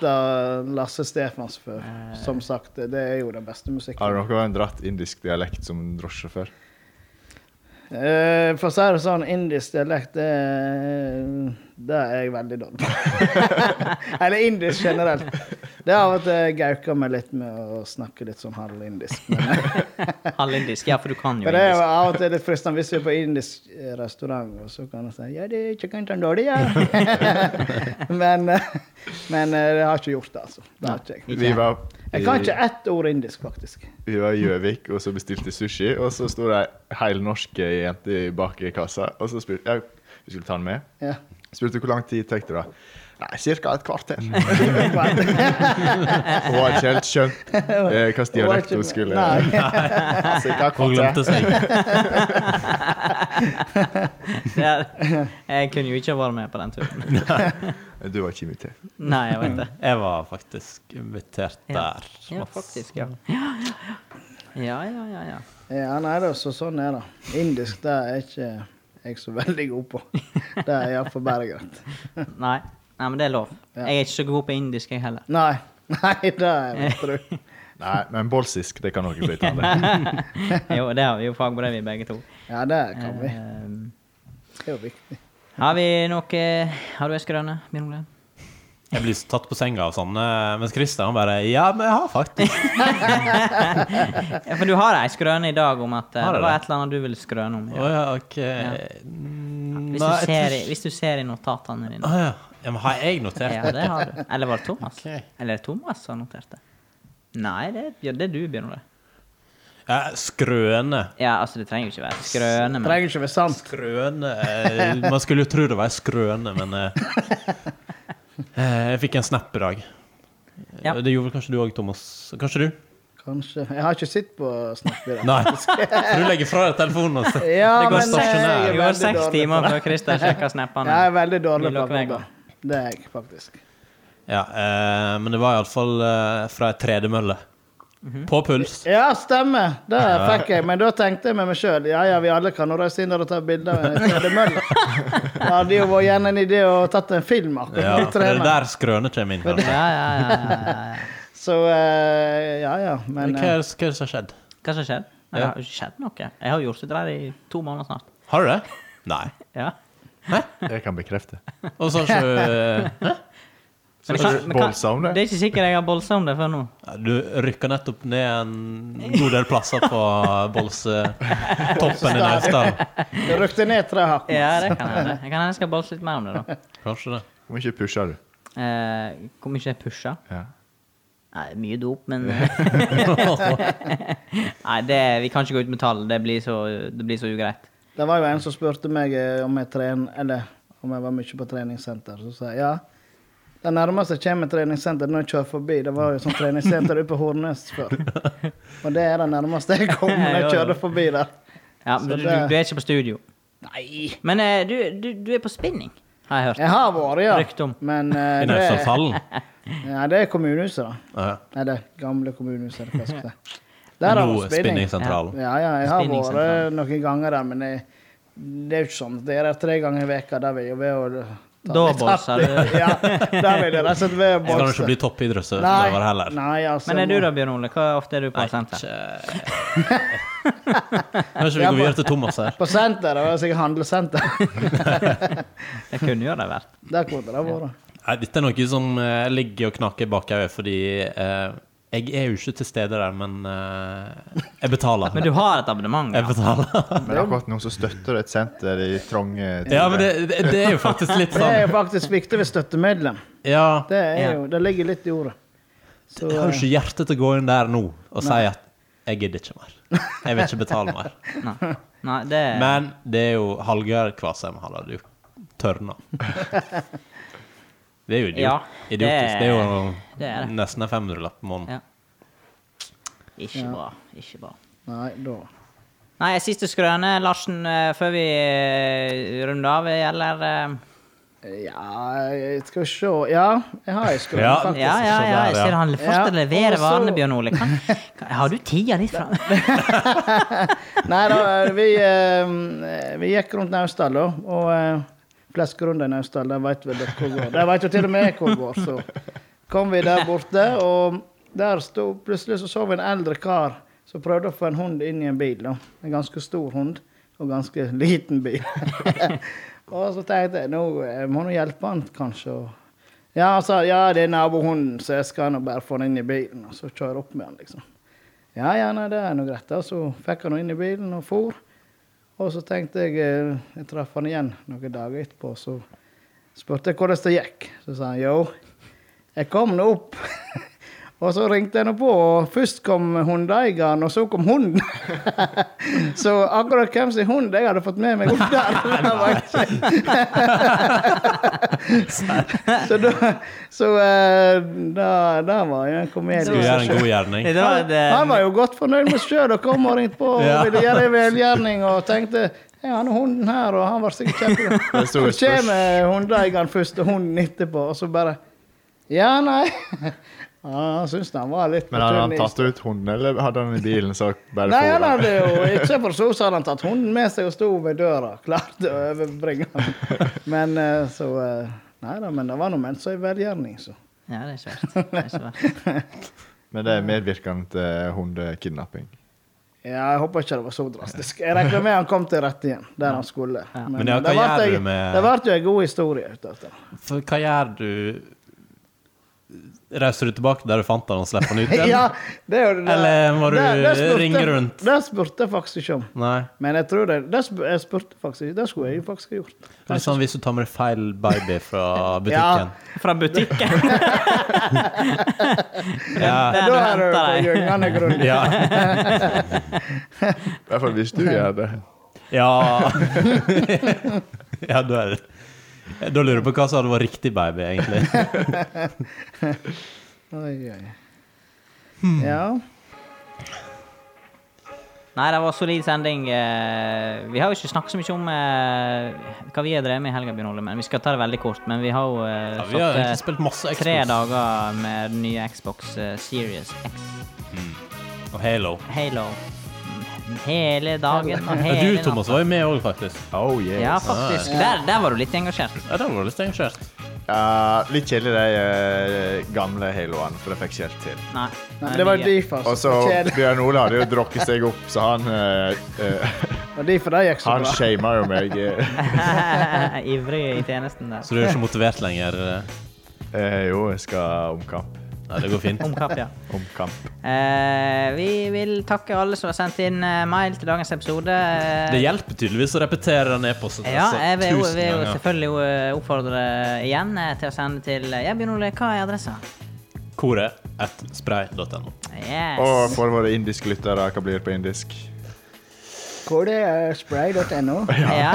A: det Lasse Stefans før. Som sagt, det er jo den beste musikken.
E: Har du noen gang dratt indisk dialekt som drosjesjåfør?
A: Eh, for å si det sånn, indisk dialekt, det, er- det er jeg veldig dårlig på. Eller indisk generelt. Det er av og til jeg gauker meg litt med å snakke litt sånn halvindisk. Men,
B: Halvindisk. Ja, for du kan jo
A: men det er jo
B: indisk.
A: av og til litt fristende hvis vi er på indisk eh, restaurant, og så kan jeg si ja, det er chicken tandoori, ja. men, eh, men eh, jeg har ikke gjort det, altså. Det har ikke jeg.
E: Vi var
A: Jeg kan ikke ett ord indisk, faktisk.
E: Vi var i Gjøvik, og så bestilte sushi. Og så sto det ei heilnorsk jente i- bak i kassa, og så spurte jeg vi skulle ta den med.
A: Ja.
E: Spurte hvor lang tid tok det da? Nei, ca. et kvarter.
A: Hun
E: Hun hadde ikke helt skjønt eh, hvilken
A: var
E: dialekt
A: ikke-
E: hun skulle
A: Nei.
E: Altså, Cirka
C: Hun
E: et kvarter.
C: glemte seg.
B: Ja, Jeg kunne jo ikke ha vært med på den turen.
E: Du var ikke invitert.
B: Nei, jeg vet det.
C: Jeg var faktisk invitert
B: Ja.
C: der.
B: Ja,
C: Mats.
B: faktisk. Ja, ja, ja. ja, ja, ja.
A: Ja, nei da, så sånn er det. Indisk, det er ikke jeg så veldig god på. Det er iallfall bare greit.
B: Nei. Nei, men det er lov.
A: Ja.
B: Jeg er ikke så god på indisk, jeg heller.
A: Nei. Nei, det er jeg tru.
E: Nei, men bolsisk, det kan dere bli tatt med.
B: Jo, det har vi jo fagbrev i, begge to.
A: Ja, det kan vi.
B: Eh,
A: Det er jo viktig.
B: Har vi noe eh, Har du ei skrøne, Bjørn Ole?
C: Jeg blir så tatt på senga av sånne. Mens Christer han bare Ja, men jeg har faktisk
B: Ja, for du har ei skrøne i dag om at eh,
C: Har jeg
B: det var
C: det?
B: et eller annet du ville skrøne om.
C: Å
B: Ja.
C: ja, OK.
B: Hvis,
C: Mm, Nei,
B: du
C: jeg
B: ser,
C: tror- Ah,
B: i- hvis du ser i notatene dine.
C: Å ja. ja. Men har jeg notert
B: Ja, det har du. Eller var det Thomas?
C: Ok.
B: Eller er det Thomas som noterte? Nei, det, ja, det er du, Bjørn Ole.
C: Ja, skrøne.
B: Ja, altså, det trenger jo ikke være skrøne, men
A: Trenger ikke være sant.
C: Skrøne eh, Man skulle jo tro det var ei skrøne, men eh, eh, Jeg fikk en snap i dag.
B: Ja.
C: Det gjorde vel kanskje du òg, Thomas? Kanskje du?
A: Kanskje. Jeg har ikke sett på Snap i dag.
C: Nei. For du legger fra deg telefonen. Altså.
A: Ja,
C: det går
A: men, eh,
C: stasjonær.
A: jeg
B: Det
A: er
B: går
A: veldig
B: seks
A: dårlig
B: timer
A: på-
B: før Christer sjekker snappene.
A: Jeg er veldig dårlig
B: Vil
A: på
B: dere vegge?
A: det. Det er jeg faktisk.
C: Ja, eh, men det var iallfall eh, fra ei tredemølle. På puls.
A: Ja, stemmer. Det fikk jeg. Men da tenkte jeg med meg sjøl ja ja, vi alle kan nå reise inn der og ta bilder av en tredemølle. Det hadde jo vært gjerne en idé å tatt en film akkurat
C: Ja,
A: de
C: for det er
A: trærne.
C: der skrøne kommer inn. altså.
B: Ja, ja,
C: Kanskje.
B: ja, ja, ja.
A: Så eh, ja ja.
C: Men
A: Men
C: hva
A: eh,
C: er det hva er det som har skjedd?
B: Hva som har skjedd? Nei, Det har jo ikke skjedd noe. Jeg har jo gjort det der i to måneder snart.
C: Har du det? Nei.
B: Ja.
E: Jeg kan bekrefte.
C: Og så har ikke du-
B: Men jeg
E: Så
B: kan-
E: har du
B: men kan-
E: bolsa om det?
B: Det er ikke sikkert jeg har bolsa om det før nå.
C: Ja, eh, Du rykka nettopp ned en god del plasser på Bolse-toppen i Naustdal.
A: eh, det røkte ned tre hakk.
B: Ja, det kan hende. Jeg kan hende jeg skal bolse litt mer om det, da.
C: Kanskje det.
E: Hvor mye pusher du?
B: Eh, Hvor mye jeg pusher?
E: Ja.
B: Nei, det er mye dop, men Nei, det, vi kan ikke gå ut med tall. Det blir så, det blir så ugreit.
A: Det var jo en som spurte meg eh, om jeg tren, eller om jeg var mye på treningssenter. Så sa jeg ja. Det nærmeste jeg kommer treningssenter når jeg kjører forbi, det var jo sånn treningssenter oppe på Hornnes før. Og det er det nærmeste jeg kom når jeg kjørte forbi der.
B: Ja,
A: Så
B: men du, du
A: det-
B: er ikke på studio.
A: Nei.
B: Men eh, du, du, du er på spinning, har jeg hørt.
A: Jeg har vært, ja.
B: Rykte om.
A: Men eh,
C: I
A: det,
C: Naustdalshallen.
A: ja, det er kommunehuset, da.
C: Ja. ja.
A: Nei, det gamle kommunehuset. er det hva jeg skal si. Der har
C: Nå
A: vi spinning.
C: spinningsentralen.
A: Ja, ja, jeg har
B: Spinningsentral.
A: vært noen ganger der, men jeg, det er jo ikke sånn. Det er der tre ganger i veka der vi er ved å ta
B: Da
A: litt
B: bolser
A: hardt i.
B: du.
A: ja, der vil jeg rett og slett ved å
C: Skal du ikke
A: bolse.
C: bli toppidrettsutøver heller?
A: nei, altså.
B: Men er du da, Bjørn Ole? Hvor ofte er du på
C: Nei,
B: senter?
C: ikke Kanskje vi går videre til Thomas her.
A: På senter, det var sikkert handlesenter.
B: Det kunne jo det vært.
A: der kunne det vært.
C: Nei, dette er noe som eh, ligger og knaker bak øyet, fordi eh, jeg er jo ikke til stede der, men eh, jeg betaler.
B: Men du har et abonnement?
C: Jeg
B: Ja.
C: betaler.
E: Men akkurat nå så støtter du et senter i trange tider.
C: Ja, men det, det, det er jo faktisk litt
A: Det er
C: sånn
A: jo faktisk viktig ved støttemedlem.
C: Ja,
A: Det, er
B: Ja.
A: jo, det ligger litt i ordet. Så,
C: jeg har jo ikke hjerte til å gå inn der nå og si at jeg gidder ikke mer. Jeg vil ikke betale mer.
B: Nei. Nei, det
C: Men det er jo Hallgeir Kvasheim han hadde jo tørna. Det er jo
B: Ja,
C: idiot, idiotisk. Det er jo
B: det er det.
C: nesten en 500-lapp i måneden.
B: Ja. Ikke bra. Ikke bra.
A: eh, Nei, da.
B: Nei, siste skrøne, Larsen, eh, før vi eh, runder av, gjelder eh,
A: Ja, jeg skal vi se. Ja, jeg har ei skrue,
C: Ja.
A: faktisk.
B: Ja, ja,
C: så
B: ja,
C: der,
B: jeg
C: ja.
B: ser han fortsatt
A: Ja,
B: leverer
A: og så-
B: varene, Bjørn Ole. Kan, kan, har du tida litt fra
A: Nei da, vi, eh, vi gikk rundt Naustdal, da. Og eh, flest grunder i Naustdal, der vet vi hvor går. Der vet jo til og med jeg hvor går. Så kom vi der borte, og der sto plutselig så, så vi en eldre kar som prøvde å få en hund inn i en bil. da. En ganske stor hund og ganske liten bil. og så tenkte jeg nå eh, må nå hjelpe han kanskje. Og ja, han sa ja, det er nabohunden, så jeg skal nå bare få den inn i bilen. Og så kjøre opp med han, liksom. Ja, ja, nei, det er noe greit. da. Så fikk han nå inn i bilen og for. Og så tenkte jeg eh, Jeg traff han igjen noen dager etterpå, så spurte jeg hvordan det gikk. Så sa han jo, jeg kom nå opp. og så ringte jeg nå på, og først kom hundeeieren, og så kom hunden. så akkurat hvem sin hund jeg hadde fått med meg opp der det var ikke- Så da Så eh, da, da var jo en komedie.
C: Skulle gjøre en god gjerning.
B: Det var et, eh,
A: Han var jo godt fornøyd med seg sjøl og kom og ringte på og
C: Ja.
A: ville gjøre en velgjerning og tenkte ja, han er hunden her, og han var sikkert kjempeglad.
E: Det
A: Så
E: sto et spørs-
A: kommer hundeeieren først og hunden etterpå, og så bare Ja, nei. Ja, Han syntes han var litt
E: Men hadde han
A: tynn is.
E: tatt ut hunden, eller hadde han i bilen? Så bare
A: Nei,
E: for
A: han
E: han?
A: hadde jo ikke for så, så hadde han tatt hunden med seg og sto ved døra, klart å overbringe han. Men eh, så eh, Nei da, men det var nå ment som en velgjerning, så.
B: Ja, det er ikke verst. Det er ikke verst.
E: Men det er medvirkende til hundekidnapping.
A: Ja, jeg håper ikke det var så drastisk. Jeg regner med han kom til rette igjen, der han skulle.
C: Men ja,
A: det
C: hva gjør
A: vart
C: du
A: ei-
C: med-
A: Det ble jo en god historie ut av det.
C: For hva gjør du Reiser du tilbake der du fant han og slipper han ut igjen?
A: Ja, det er jo det.
C: Eller må du
A: Der- der spurte-
C: ringe rundt?
A: Der spurte jeg faktisk ikke om.
C: Nei.
A: Men jeg tror det, det, sp jeg spurte faktisk ikke. Det skulle jeg faktisk ha gjort.
C: Det er litt sånn hvis du tar med deg feil baby fra butikken.
B: Fra butikken.
C: Ja.
B: Der
A: Da er du
B: du henter
A: på
B: deg.
A: gyngende grunn.
C: Ja.
D: I hvert fall hvis du gjør det.
C: Ja, ja da er det Da lurer jeg på hva som hadde vært riktig baby, egentlig.
A: Oi, oi. Ja.
B: Nei, det var solid sending. Eh, Vi har jo ikke snakket så mye om eh, hva vi har drevet med i helga, Bjørn Ole, men vi skal ta det veldig kort. Men vi har jo eh,
C: Ja,
B: satt,
C: vi har
B: eh,
C: egentlig spilt masse Xbox
B: tre dager med den nye Xbox eh, Series X.
C: og Halo.
B: Halo. Hele dagen og
C: Ja,
B: hele
C: du,
B: natta.
C: Thomas, var jo med òg, faktisk.
E: Oh, yes.
B: Ja,
A: Ah,
B: faktisk. Der, der var du litt engasjert.
C: Ja, det var litt engasjert.
E: Ja, litt kjedelig de eh, gamle Haloene, for det fikk ikke helt til.
B: Nei.
A: Nei, det var
B: nye.
A: derfor.
E: Og så
A: Kjedelig.
E: Bjørn Ole hadde jo drukket seg opp, så han eh, eh,
A: Det var derfor det gikk så
E: Han
A: bra.
E: shama jo meg. eh,
B: Ivrig i tjenesten der.
C: Så du er ikke motivert lenger?
E: Eh, jo, jeg skal omkamp.
C: Nei, det går fint.
B: Omkapp, ja.
E: Omkamp.
B: Eh, vi vil takke alle som har sendt inn eh, mail til dagens episode. Eh,
C: Det hjelper tydeligvis å repetere den e-posten.
B: Ja,
C: altså,
B: jeg vil, jo-
C: tusen
B: vil jo
C: ganger.
B: selvfølgelig jo, eh, oppfordre igjen eh, til å sende til eh, Ja, Bjørn Ole, hva er adressa?
C: Koret at spray.no.
B: Yes.
E: Og for våre indiske lyttere, hva blir det på indisk?
A: Hvor det er eh, spray.no?
B: Ja.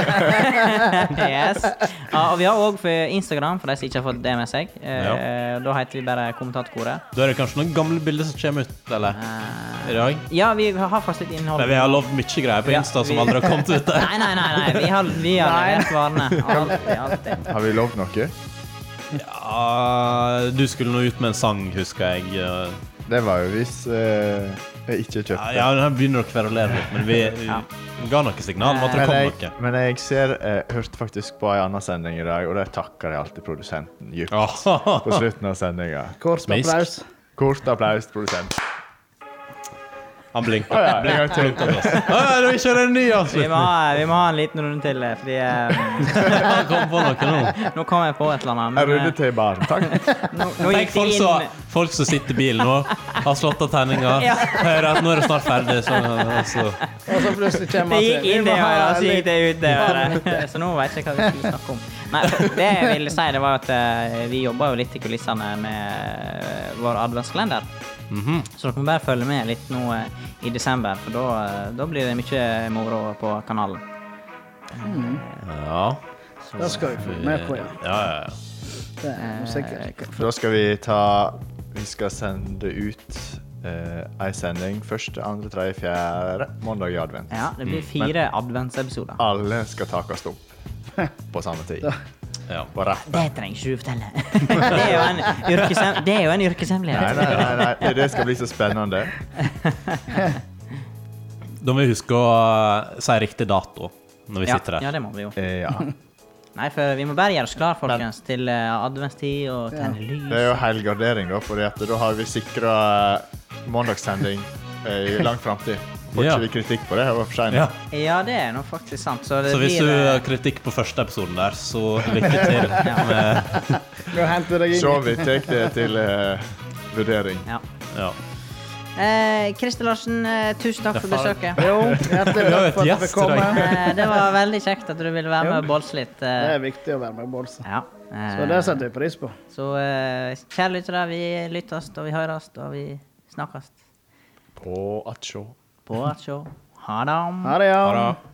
B: yes. Ja, og vi har òg Instagram, for de som ikke har fått det med seg. Eh, Da heter vi bare Kommentatkoret.
C: Da er det kanskje noen gamle bilder som kommer ut, eller? I dag?
B: Ja, vi har faktisk litt innhold.
C: Men vi har lovd mye greier på
B: Eh. Ja,
C: Insta som
B: vi-
C: aldri har kommet ut der.
B: Nei, nei, nei. nei. Vi har, vi har levert varene. Alltid. alltid.
E: Har vi lovd noe?
C: Ja, Ah, du skulle nå ut med en sang, husker jeg. eh.
E: Det var jo hvis eh, jeg ikke
C: Ja,
E: kjøpte.
C: ja her begynner å kverulere litt, men vi, vi ga noe signal om
B: Eh,
C: at det
E: Men
C: kom
E: jeg,
C: noe.
E: men jeg ser eh, hørte faktisk på en annen sending i dag, og der takker jeg alltid produsenten dypt
C: Åh,
E: på slutten av sendinga.
A: Kort
C: Smisk.
A: applaus.
E: Kort applaus til produsenten.
C: Han blinka.
E: Å ja, en gang til.
C: Nå kjører en ny altså.
B: Vi, må,
C: avslutning!
B: ha- vi må ha en liten runde til, eh, fordi eh,
C: Han kom på noe nå.
B: nå kom jeg på et eller annet.
E: En
B: Men,
E: runde
B: eh,
E: til i baren. Takk.
B: nå, nå
C: Tenk
B: gikk det
C: folk som,
B: inn
C: folk som sitter i bilen nå, har slått av terninger,
B: Ja.
C: hører at nå er det snart ferdig, så, så.
A: Og så plutselig
B: Det
A: kommer
B: gikk inn det øret, og så gikk
A: litt-
B: altså. det ut det øret. Så nå vet jeg ikke hva vi skulle snakke om. Nei, det jeg ville si, det var at eh, vi jobba jo litt i kulissene med eh, vår adventskalender.
C: Mhm.
B: Så dere må bare følge med litt nå eh, i desember, for da, eh, da blir det mye moro på kanalen.
C: Ja.
A: Det skal vi få med på, ja.
C: Ja, ja, ja.
A: Det er jo sikkert.
E: Da skal vi ta Vi skal sende ut eh, ei sending første, andre, tredje, fjerde mandag i advent.
B: Ja, det blir fire adventsepisoder.
E: Alle skal takast opp på samme tid.
C: Ja.
E: På rett.
B: Det trenger ikke du fortelle. Det er jo en, yrkeshem det er jo en
E: Nei,
B: yrkeshemmelighet.
E: nei, nei, nei. Det skal bli så spennende.
C: Da må vi huske å eh, si riktig dato når vi
B: Ja,
C: sitter der.
B: ja, det må vi jo.
E: Eh, ja.
B: Nei, for vi må bare gjøre oss klar, folkens, til eh, adventstid og tenne
E: Det er
B: lys.
E: jo helgardering, da, for da har vi sikra mandagssending eh, i lang framtid. Får
C: Ja.
E: ikke vi kritikk på det? Jeg var for sein.
C: Ja.
B: Ja, det er nå faktisk sant. Så, det
C: Så hvis
B: blir,
C: du
B: eh,
C: har kritikk på første episoden der, så lykke til. Med,
A: Nå henter jeg deg
E: Så
A: inn.
E: vi tar det til eh, vurdering.
B: ja.
C: ja.
B: eh, Christer Larsen, eh, tusen takk
C: Det er
B: for
C: faen-
B: besøket.
A: Jo, hjertelig
C: Vi har
A: takk
C: et
A: for at du
C: gjest
A: fikk komme.
C: i dag.
B: Eh, det var veldig kjekt at du ville være med og bolse litt.
A: Det
B: eh,
A: er viktig å være med i Bolsa.
B: ja.
A: Så det
B: Eh,
A: setter vi pris på.
B: så eh, kjære lyttere, vi lyttes og vi høres og vi snakkes.
E: På atsjå.
B: På atsjå. Ha det.
A: Ha det, ja.
C: Ha det.